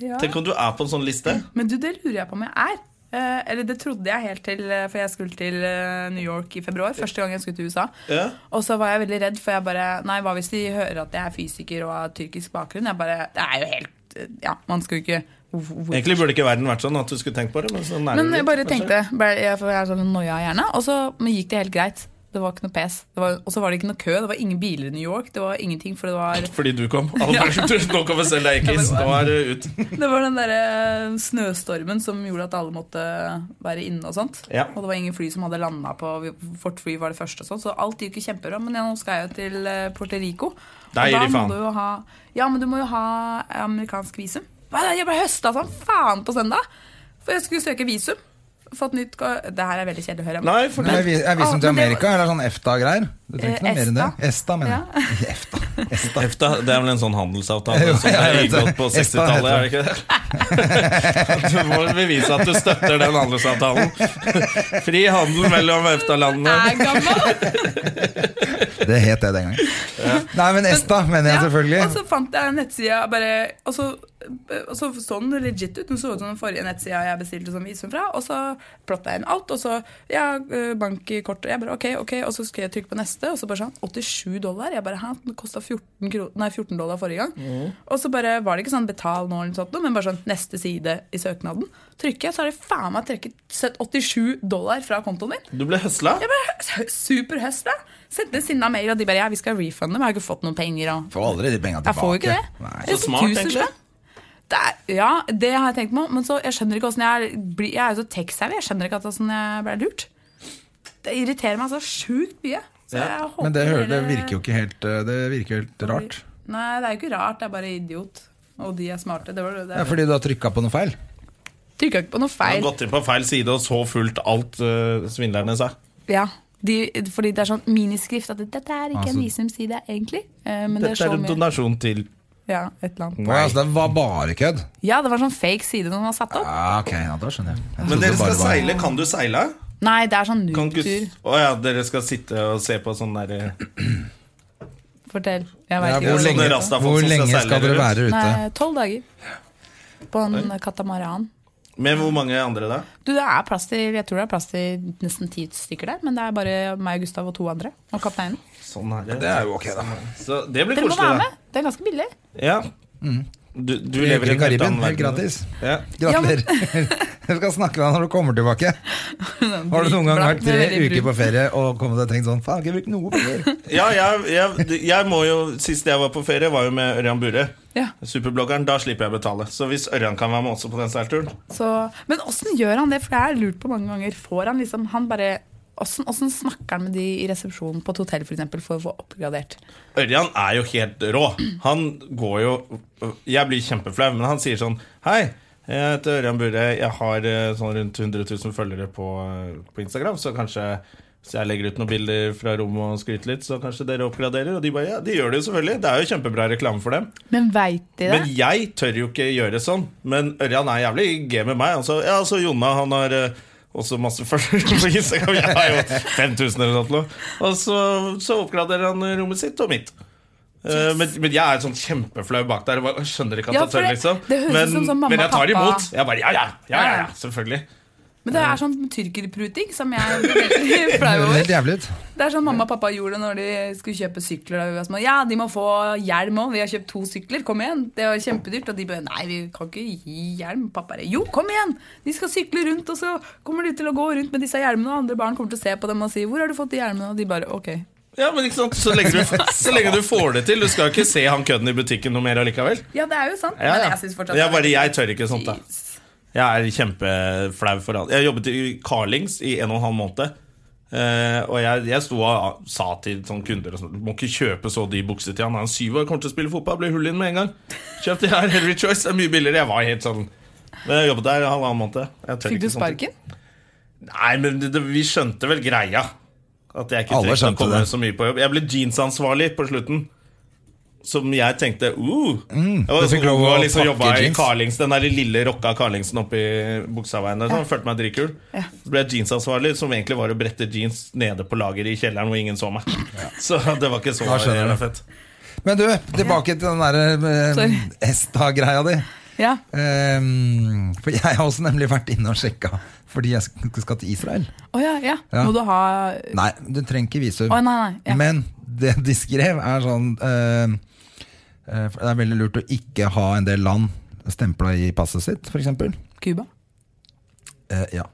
C: Ja.
A: Tenk om du er på en sånn liste.
C: Men du, det lurer jeg på om jeg er. Eh, eller det trodde jeg helt til eh, For jeg skulle til eh, New York i februar. Første gang jeg skulle til USA.
A: Ja.
C: Og så var jeg veldig redd, for jeg bare Nei, hva hvis de hører at jeg er fysiker og har tyrkisk bakgrunn? Jeg bare Det er jo helt eh, Ja, man skulle ikke hvor- hvor-
A: Egentlig burde ikke verden vært sånn at du skulle tenkt på det. Men, sånn er det
C: Men jeg
A: litt,
C: bare
A: kanskje.
C: tenkte bare, jeg, For jeg er sånn noia i hjernen. Og så men gikk det helt greit. Det var ikke noe pes. Det var- Og så var det ikke noe kø. Det var ingen biler i New York. Det var ingenting, for det var
A: Fordi du kom. Alle bare, Nå kommer selv deg i kiss. Nå er det ut.
C: Det var den derre eh, snøstormen som gjorde at alle måtte være inne og sånt.
A: Ja.
C: Og det var ingen fly som hadde landa på Vårt fly var det første og sånn, så alt gikk jo kjempebra. Men ja, nå skal jeg jo til eh, Puerto Rico. Og
A: Der gir
C: da
A: de faen.
C: må du jo ha Ja, men du må jo ha amerikansk visum. Hva er det? Jeg ble høsta som faen på søndag! For jeg skulle søke visum. Fått nytt ka- Det her er veldig kjedelig å høre.
A: Nei, for
B: Nei, vi, er visum til
C: Ah, men det
B: Amerika,
C: var-
B: eller sånn EFTA-greier? Du trenger ikke noe mer enn det.
C: Eh,
B: ESTA, mener jeg. Ikke EFTA. EFTA.
A: EFTA, det er vel en sånn handelsavtale
B: Jo,
A: som
B: jeg
A: er
B: vet det.
A: inngått på 60-tallet, er det ikke det? Du må bevise at du støtter den handelsavtalen. Fri handel mellom
C: Jeg
A: EFTA-landene.
C: er gammel!
B: Det het det den gangen. Nei, men ESTA mener jeg
C: Ja, altså- og
B: selvfølgelig.
C: så fant jeg nettsida bare Og så, og så så den legit ut. Den så ut som den forrige nettsida jeg bestilte som visum fra. Og så plotta jeg inn alt, og så ja, eh, bank i kortet. Jeg bare, ok, ok, og så skulle jeg trykke på neste, og så bare sånn 87 dollar. Jeg bare, hæ, den kosta 14, kro- nei, 14 dollar forrige gang. Og så bare var det ikke sånn betal nå, eller noe sånt, noe, men bare sånn neste side i søknaden. Trykker jeg, så har de faen meg trekket sett 87 dollar fra kontoen min.
A: Du ble høsla.
C: Jeg bare, Superhøst, da! Sendte en sinna mail, og de bare ja, vi skal refunde, men jeg har ikke fått noen penger. og
B: Får aldri de penga tilbake.
C: jeg får jo ikke det.
B: Nei.
C: Det er
A: Så smart,
C: 1000
A: egentlig.
C: spenn. Det er, ja, det har jeg tenkt meg om, men så, jeg skjønner ikke hvordan jeg er blir- Jeg er jo så tech-savvy, jeg skjønner ikke at det er sånn jeg ble lurt. Det irriterer meg så sjukt mye. Så
A: Ja,
C: jeg håper
B: Men det, hører- det
C: dere-
B: virker jo ikke helt, eh, det virker helt rart.
C: Nei, det er jo ikke rart, det er bare idiot. Og de er smarte. Det var det.
B: Det er fordi du har trykka på noe feil.
C: Trykka ikke på noe
A: Du har
C: feil.
A: gått inn på feil side og så fullt alt eh, svindlerne sa.
C: Ja, de, fordi det er sånn miniskrift at dette er ikke en
B: Altså-
C: visumside, egentlig. Eh, Men det er
A: Dette
C: så
A: er en
C: mye
A: donasjon til
C: Ja, et eller
B: Å,
C: annet.
B: ja, så altså, det var bare kødd?
C: Ja, det var sånn fake side noen har satt opp.
B: Ja, ok, ja, da skjønner jeg. jeg.
A: Men
B: trodde
A: dere
B: det bare
A: skal
B: var-
A: seile. Kan du seile?
C: Nei, det er sånn
A: Kan ikke-
C: nulltur.
A: Å ja, dere skal sitte og se på sånn derre
C: Fortell. Jeg vet
B: Ja,
C: ikke
B: hvor
C: hva det
B: lenge,
C: heter.
A: rastafolk
B: hvor
A: som skal
B: lenge
A: seile
B: skal dere
A: rundt?
B: være ute?
C: Nei, tolv dager. På en katamaran.
A: Med hvor mange andre da?
C: Du, det er plass til, Jeg tror det er plass til nesten ti stykker der, men det er bare meg, Gustav og to andre. Og kapteinen.
A: Sånn er det.
B: Det er jo ok, da.
A: Så det blir
C: Dere må
A: koselig,
C: være
A: da.
C: med! Det er ganske billig.
A: Ja. Du, du
B: Lever
A: lever
B: Mm. i
A: i en helt
B: Karibien,
A: annen
B: helt
A: verden.
B: gratis.
A: Ja.
B: Gratulerer. Jeg skal snakke med deg når du kommer tilbake. Har du noen gang
C: Dritbra.
B: vært tre
C: Det er veldig
B: uker
C: brun.
B: på ferie og kommet og tenkt sånn Faen, jeg har ikke brukt noe penger.
A: Ja, jeg, jeg, jeg må jo Sist jeg var på ferie, var jo med Ørjan Bure.
C: Ja,
A: Superbloggeren. Da slipper jeg å betale. Så hvis Ørjan kan være med også på den seilturen
C: så, Men åssen gjør han det? For det har jeg lurt på mange ganger. Får han liksom Han bare Åssen åssen snakker han med de i resepsjonen på et hotell for, eksempel, for å få oppgradert?
A: Ørjan er jo helt rå. Han går jo Jeg blir kjempeflau, men han sier sånn Hei, jeg heter Ørjan Bure. Jeg har eh, sånn rundt 100 000 følgere på, eh, på Instagram, så kanskje hvis jeg legger ut noen bilder fra rommet og skryter litt, så kanskje dere oppgraderer. Og de bare ja, de gjør det jo selvfølgelig. Det er jo kjempebra reklame for dem.
C: Men veit de det?
A: Men jeg tør jo ikke gjøre sånn. Men Ørjan er jævlig gay med meg. Altså, ja, altså Jonna han har eh, også masse følgere på Instagram. Jeg har jo 5000 eller noe. sånt nå. Og så, så oppgraderer han rommet sitt og mitt. Eh, men, men jeg er sånn kjempeflau bak der. Jeg bare skjønner ikke at
C: Ja,
A: jeg
C: for
A: tør,
C: det-
A: liksom.
C: det høres ut
A: men,
C: som sånn mamma
A: men jeg tar
C: og pappa.
A: imot. Jeg bare ja, ja, ja, ja, ja selvfølgelig.
C: Men det er sånn tyrkerpruting som jeg er veldig flau
B: Det
C: over.
B: er helt jævlig ut.
C: Det er sånn mamma og pappa gjorde når de skulle kjøpe sykler. Da vi var små. Ja, de må få hjelm òg. Vi har kjøpt to sykler. Kom igjen. Det var kjempedyrt. Og de bare Nei, vi kan ikke gi hjelm. Pappa bare Jo, kom igjen! De skal sykle rundt, og så kommer de til å gå rundt med disse hjelmene, og andre barn kommer til å se på dem og si Hvor har du fått de hjelmene? Og de bare OK.
A: Ja, men ikke sant? Så lenge, du, så lenge du får det til. Du skal jo ikke se han kødden i butikken noe mer allikevel.
C: Ja, det er jo sant.
A: Ja,
C: Men
A: ja.
C: jeg syns fortsatt
A: Jeg bare, jeg tør ikke sånt, da.
C: Jeez.
A: Jeg er kjempeflau for alt. Jeg jobbet i Carlings i en og en halv måned. Eh, og jeg, jeg sto og sa til sånne kunder og sånn, Du må ikke kjøpe så dyr bukse til han. Han er syv år, kommer til å spille fotball, blir hull inn med en gang. Kjøp det her, Henry Choice, det er mye billigere. Jeg var helt sånn Men jeg jobbet der i halvannen måned. Jeg tør
C: Fikk du
A: ikke sånn sånt.
C: sparken?
A: Nei, men det, det, vi skjønte vel greia. At jeg ikke
B: Alle
A: trengte å
B: skjønte
A: komme
B: det.
A: så mye på jobb. Jeg ble jeansansvarlig på slutten. som jeg tenkte uh, Jeg var
B: Mm, du fikk
A: sånn
B: lov
A: ung
B: å
A: og liksom
B: pakke
A: jobba i
B: jeans.
A: Carlings, den der lille rocka Carlingsen oppi Bogstadveien. og Sånn, Følte meg dritkul. Så ble jeg jeansansvarlig, som egentlig var å brette jeans nede på lageret i kjelleren hvor ingen så meg. Så det var ikke så
B: Da skjønner jeg.
A: fett.
B: Men du, tilbake til den der eh,
C: Sorry.
B: Esta-greia di.
C: Ja.
B: Ehm, for jeg har også nemlig vært inne og sjekka, fordi jeg sk- skal til Israel.
C: Å ja, ja.
B: Ja.
C: Må du ha
B: Nei, du trenger ikke visum.
C: Å, nei, nei, ja.
B: Men det de skrev, er sånn ehm, eh, for Det er veldig lurt å ikke ha en del land stempla i passet sitt, f.eks.
C: Cuba?
B: Uh, ja.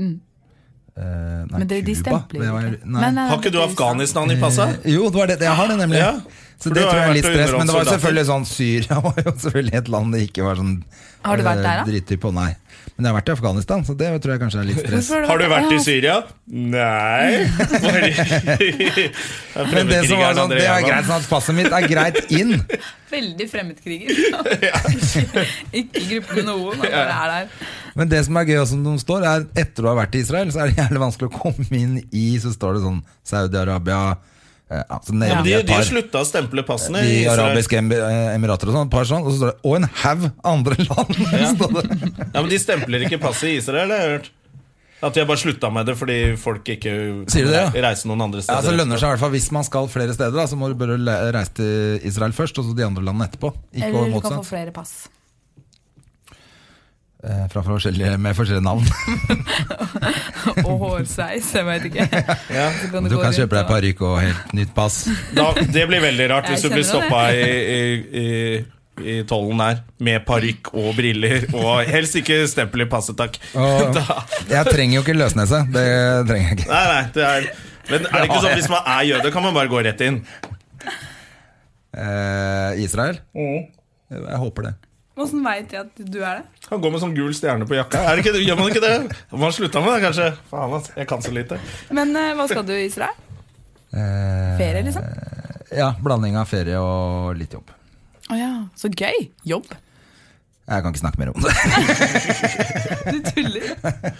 B: Eh, nei,
C: Mm. Men det, de
B: Cuba,
C: stempler
B: det
C: jo
B: var-
C: ikke.
B: Nei.
C: Nei, nei,
A: Har ikke du
C: det er
A: Afghanistan i passet?
B: Eh, Jo, det var det, jeg har det nemlig.
A: Ja,
B: så
A: for
B: det
A: du har
B: tror jeg
A: vært
B: er litt
A: og
B: stress. Men det var
A: underholdt
B: selvfølgelig sånn Syria var jo selvfølgelig et land det ikke var sånn
C: Har du vært der, da?
B: Dritig på, nei. Men jeg har vært i Afghanistan, så det tror jeg kanskje er litt stress.
C: Hvorfor
A: Har du vært i
C: Ja.
A: Syria? Nei.
B: Men det som var sånn, det er greit sånn at passet mitt er greit inn.
C: Veldig fremmedkriger. ikke i gruppe med noen. Han bare er der.
B: Men det som er gøy, og som de står, er etter du har vært i Israel, så er det jævlig vanskelig å komme inn i Så står det sånn Saudi-Arabia eh, altså,
A: Ja, men
B: nevner
A: de,
B: et
A: de
B: par-
A: slutta å stemple passene.
B: De
A: i Israel.
B: arabiske em- eh, emirater og sånn, et par sånn, og så står det 'og en haug andre land'. står det.
A: Ja, men De stempler ikke passet i Israel, har jeg hørt. At de har bare slutta med det fordi folk ikke
B: Sier du det, ja?
A: reiser noen andre
B: Ja,
A: steder.
B: så lønner det seg i hvert fall Hvis man skal flere steder, da, så må du bare le- reise til Israel først, og så de andre landene etterpå. Ikke
C: Eller
B: over
C: du kan få
B: motsatt.
C: flere pass.
B: Eh, Fra forskjellige, med forskjellige navn.
C: Og hårsveis, jeg vet ikke.
A: Ja.
C: Så kan
B: Du
C: gå
B: kan
C: rundt
B: kjøpe deg
C: og-
B: parykk og helt nytt pass.
A: Da, det blir veldig rart
C: Jeg
A: hvis du blir
C: kjenner det.
A: stoppa i, i, i, i tollen der med parykk og briller og helst ikke stempel i passet, takk.
B: Og
A: Da,
B: jeg trenger jo ikke løsnese. Det trenger jeg ikke.
A: nei, nei, det er, men er det ikke sånn hvis man er jøde, kan man bare gå rett inn?
B: Eh, Israel?
A: Mm.
B: Jeg håper det.
C: Åssen veit jeg at du er det?
A: Kan gå med sånn gul stjerne på jakka. Er det ikke, gjør man ikke det? Man slutta med det, kanskje? Faen, ass. Jeg kan så lite.
C: Men eh, hva skal du i Israel?
B: Eh,
C: Ferie, liksom?
B: Ja, blanding av ferie og litt jobb.
C: Å ja, så gøy. Jobb.
B: Jeg kan ikke snakke mer om det.
C: Du tuller.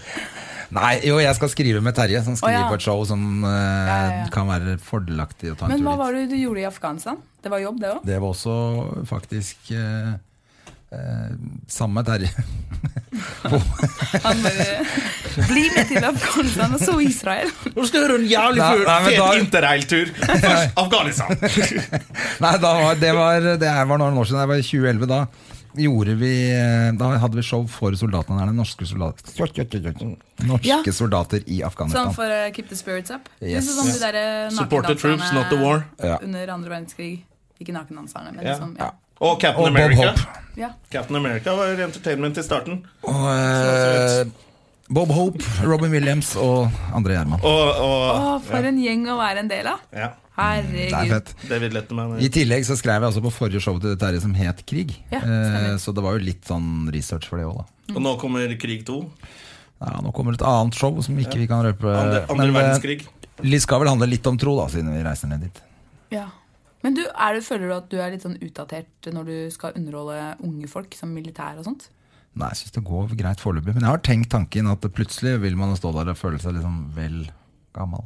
B: Nei, jo, jeg skal skrive med Terje, som skriver
C: Å, ja.
B: på et show som eh,
C: ja, ja.
B: kan være fordelaktig å ta en
C: Men
B: tur
C: hva
B: dit.
C: var det du gjorde i Afghanistan? Det var jobb, det òg?
B: Det var også faktisk eh, eh, samme Terje.
C: Han bare Bli med til Afghanistan, og så Israel.
A: Nå skal jeg høre en jævlig
B: Nei,
A: full
B: nei, men
A: fet
B: da-
A: interrailtur. Først Afghanistan.
B: Nei, da var, det, var, det her var noen år siden. Jeg var i 2011 da. Gjorde vi, eh, da hadde vi show for soldatene der, norske soldater Norske
C: Ja.
B: soldater i Afghanistan.
C: Sånn for å keep the spirits up.
B: Yes.
C: Yes. Sånn de der eh,
A: Support the troops, not the war.
B: Ja.
C: under andre verdenskrig. Ikke nakendanserne, men
A: Ja.
C: liksom ja.
A: Og
B: Og
A: Captain
B: Bob
A: America.
B: Hope.
C: ja.
A: Captain America var entertainment i starten.
B: Og, eh, Bob Hope, Robin Williams og André Gjerman.
A: Og, og
C: Å, for en gjeng å være en del av.
A: ja,
B: Det er
C: Herregud.
B: fett.
A: David Letterman.
B: I tillegg så skrev jeg også på forrige show til Terje som het Krig.
C: Ja,
B: eh,
C: stemmer.
B: så det var jo litt sånn research for det òg, da.
A: Og nå kommer Krig 2.
B: Ja, nå kommer et annet show som ikke vi kan røpe.
A: Andre, andre
B: Men, eh,
A: verdenskrig.
B: Litt skal vel handle litt om tro, da, siden vi reiser ned dit.
C: Ja. Men du, er du, føler du at du er litt sånn utdatert når du skal underholde unge folk som militær og sånt?
B: Nei, jeg syns det går greit foreløpig. Men jeg har tenkt tanken at plutselig vil man stå der og føle seg liksom vel gammel.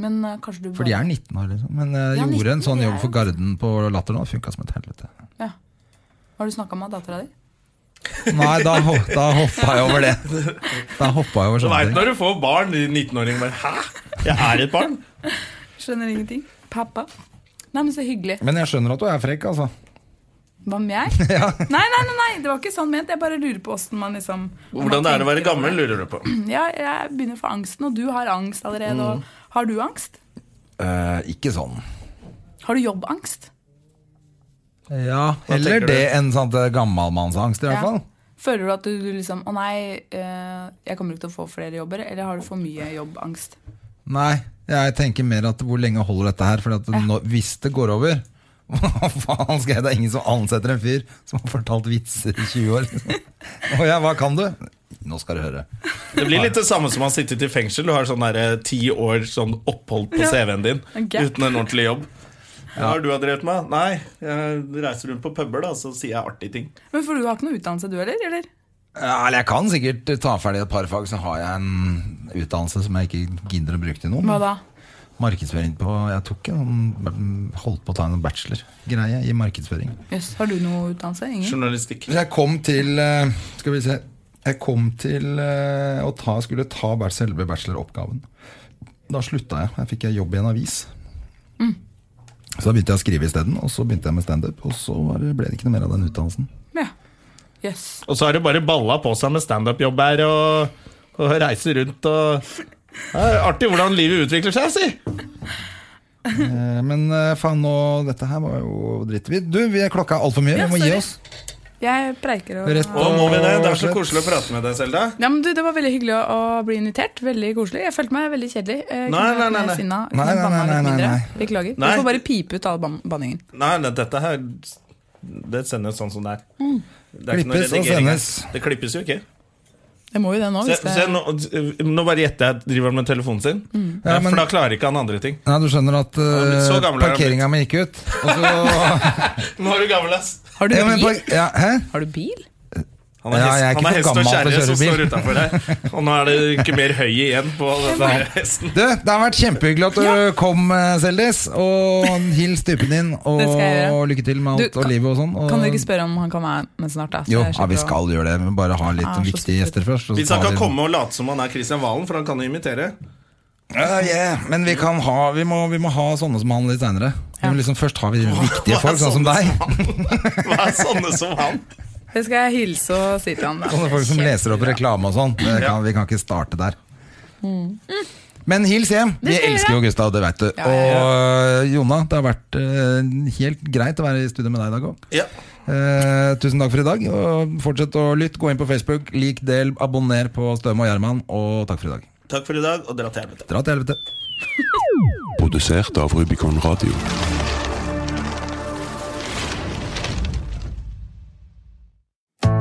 C: Men eh, kanskje du
B: For de er 19 år, liksom. Men jeg
C: Ja,
B: gjorde
C: 19,
B: en sånn
C: det er
B: jobb for Garden på Latter nå. Funka som et helvete.
C: ja. Har du snakka med dattera di?
B: Nei, da, ho- da hoppa jeg over det. Da hoppa jeg over
A: Du veit
B: sånne ting.
A: når du får barn, de 19-åringene bare Hæ? Jeg er et barn?
C: Skjønner ingenting. Pappa. Nei, men så hyggelig.
B: Men jeg skjønner at du er frekk, altså.
C: Hva med jeg? Nei, nei, nei, nei, det var ikke sånn ment. Jeg bare lurer på åssen man liksom om
A: Hvordan det
C: man
A: er å være
C: tenker over
A: gammel, lurer du på.
C: Ja, jeg begynner å få angsten, og du har angst allerede.
B: Mm.
C: Og har du angst?
B: Eh, ikke sånn.
C: Har du jobbangst?
B: Ja, Heller
A: tenker du?
B: det enn sånn eh, gammalmannsangst, i hvert fall.
C: Føler du at du liksom Å nei, eh, jeg kommer ikke til å få flere jobber. Eller har du for mye jobbangst?
B: Nei, jeg tenker mer at hvor lenge holder dette her? For at nå, hvis det går over hva faen skal jeg? Det er ingen som ansetter en fyr som har fortalt vitser i 20 år. liksom. Å ja, hva kan du? Nå skal du høre.
A: Det blir litt det samme som å ha sittet i fengsel. Du har sånn derre ti år sånn opphold på CV-en din
C: En gap.
A: uten en ordentlig jobb. Hva har du har drevet med? Nei, jeg reiser rundt på puber, da, så sier jeg artige ting.
C: Men for du har ikke noe utdannelse, du heller? eller?
B: Ja, eller jeg kan sikkert ta ferdig et par fag, så har jeg en utdannelse som jeg ikke gidder å bruke til noe.
C: Hva da?
B: Markedsføring på Jeg tok en holdt på å ta en bachelorgreie i markedsføring.
C: Jøss, Har du noe utdannelse?
A: Mm.
C: Ingen?
A: Journalistikk.
B: Så jeg kom til eh, Skal vi se Jeg kom til eh, å ta, skulle ta bæ- selve bacheloroppgaven. Da slutta jeg. Jeg fikk jeg jobb i en avis.
C: Mm.
B: Så da begynte jeg å skrive isteden, og så begynte jeg med standup. Og så var det- ble det ikke noe mer av den utdannelsen.
C: Ja. Jøss.
A: Og så har det bare balla på seg med standup-jobb her og, og reise rundt og det er Artig hvordan livet utvikler seg, si!
B: Eh, Men eh, faen, nå Dette her var jo drittvidt. Du, vi, klokka er altfor mye.
C: Ja,
B: vi må
C: sorry.
B: gi oss.
C: Jeg preiker å
B: Rett
A: Og
B: på-
A: må vi det? Det er så koselig å prate med deg, Selda.
C: ja, men du, Det var veldig hyggelig å, å bli invitert. Veldig koselig. Jeg følte meg veldig kjedelig. Eh, Jeg
A: Nei, nei, nei, nei.
C: Sinna,
B: Nei, nei, nei, nei, nei,
C: Beklager.
A: Nei.
C: Du får bare pipe ut all ban- banningen.
A: Nei, nei, dette her Det sendes sånn som det er.
C: Mm.
A: Det er ikke noe
B: Klippes og
A: redigering her.
B: sendes.
A: Det klippes jo ikke.
C: Jeg må jo det nå.
A: Se,
C: Hvis det...
A: se, nå, nå bare gjetter jeg at driver han med telefonen sin.
C: Mm.
B: Ja, men-
A: For da klarer ikke han andre ting.
B: Nei, du skjønner at uh,
A: så gammel er han
B: parkeringa mi gikk ut. Og så
A: Nå er du gammel, ass!
C: Har du
B: ja, men,
C: bil?
B: park- ja, Hæ?
C: Har du bil?
A: Han er
B: Ja,
A: hest,
B: jeg er ikke
A: han er
B: for
A: hest og
B: gammel til å
A: kjerre som
B: kjøre
A: står
B: bil.
A: utafor her. Og nå er det ikke mer høy igjen på denne hesten.
B: Du, det har vært kjempehyggelig at du kom, eh, Seldis. Og hils typen din, og,
C: Det skal jeg gjøre.
B: lykke til med
C: Du,
B: alt
C: kan-
B: og livet og sånn. Og,
C: Kan du ikke spørre om han kan være med snart? da? Så
B: Jo,
C: jeg
B: ja, vi
C: slipper å-
B: skal gjøre det, men bare ha litt
C: Ah, så
B: viktige gjester først. og så
A: Hvis han
B: tar
A: kan
B: vi-
A: komme og late som han er Christian Valen, for han kan jo imitere.
B: Ja, ja, Men vi, kan ha, vi, må, vi må ha sånne som han litt seinere.
C: Ja.
B: Liksom, først har vi viktige folk,
A: Hva er
B: sånn som deg.
A: han? Hva er sånne som han?
C: Det skal jeg hilse og si til han. da.
B: Sånne folk som leser opp reklame og sånn. Det kan, vi kan ikke starte der. Men hils hjem. Vi
C: Mm. skal jeg
B: elsker jo Gustav, det vet du.
C: Ja, ja, ja.
B: Og øh, Jonna, det har vært øh, helt greit å være i studio med deg i dag òg.
A: Ja.
B: Eh, tusen takk for i dag. Og fortsett å lytte. Gå inn på Facebook, lik, del, abonner på Støme og Gjerman. Og takk for i dag.
A: Takk for i dag, og dra til helvete.
B: Dra til helvete.
D: Produsert av Rubicon Radio.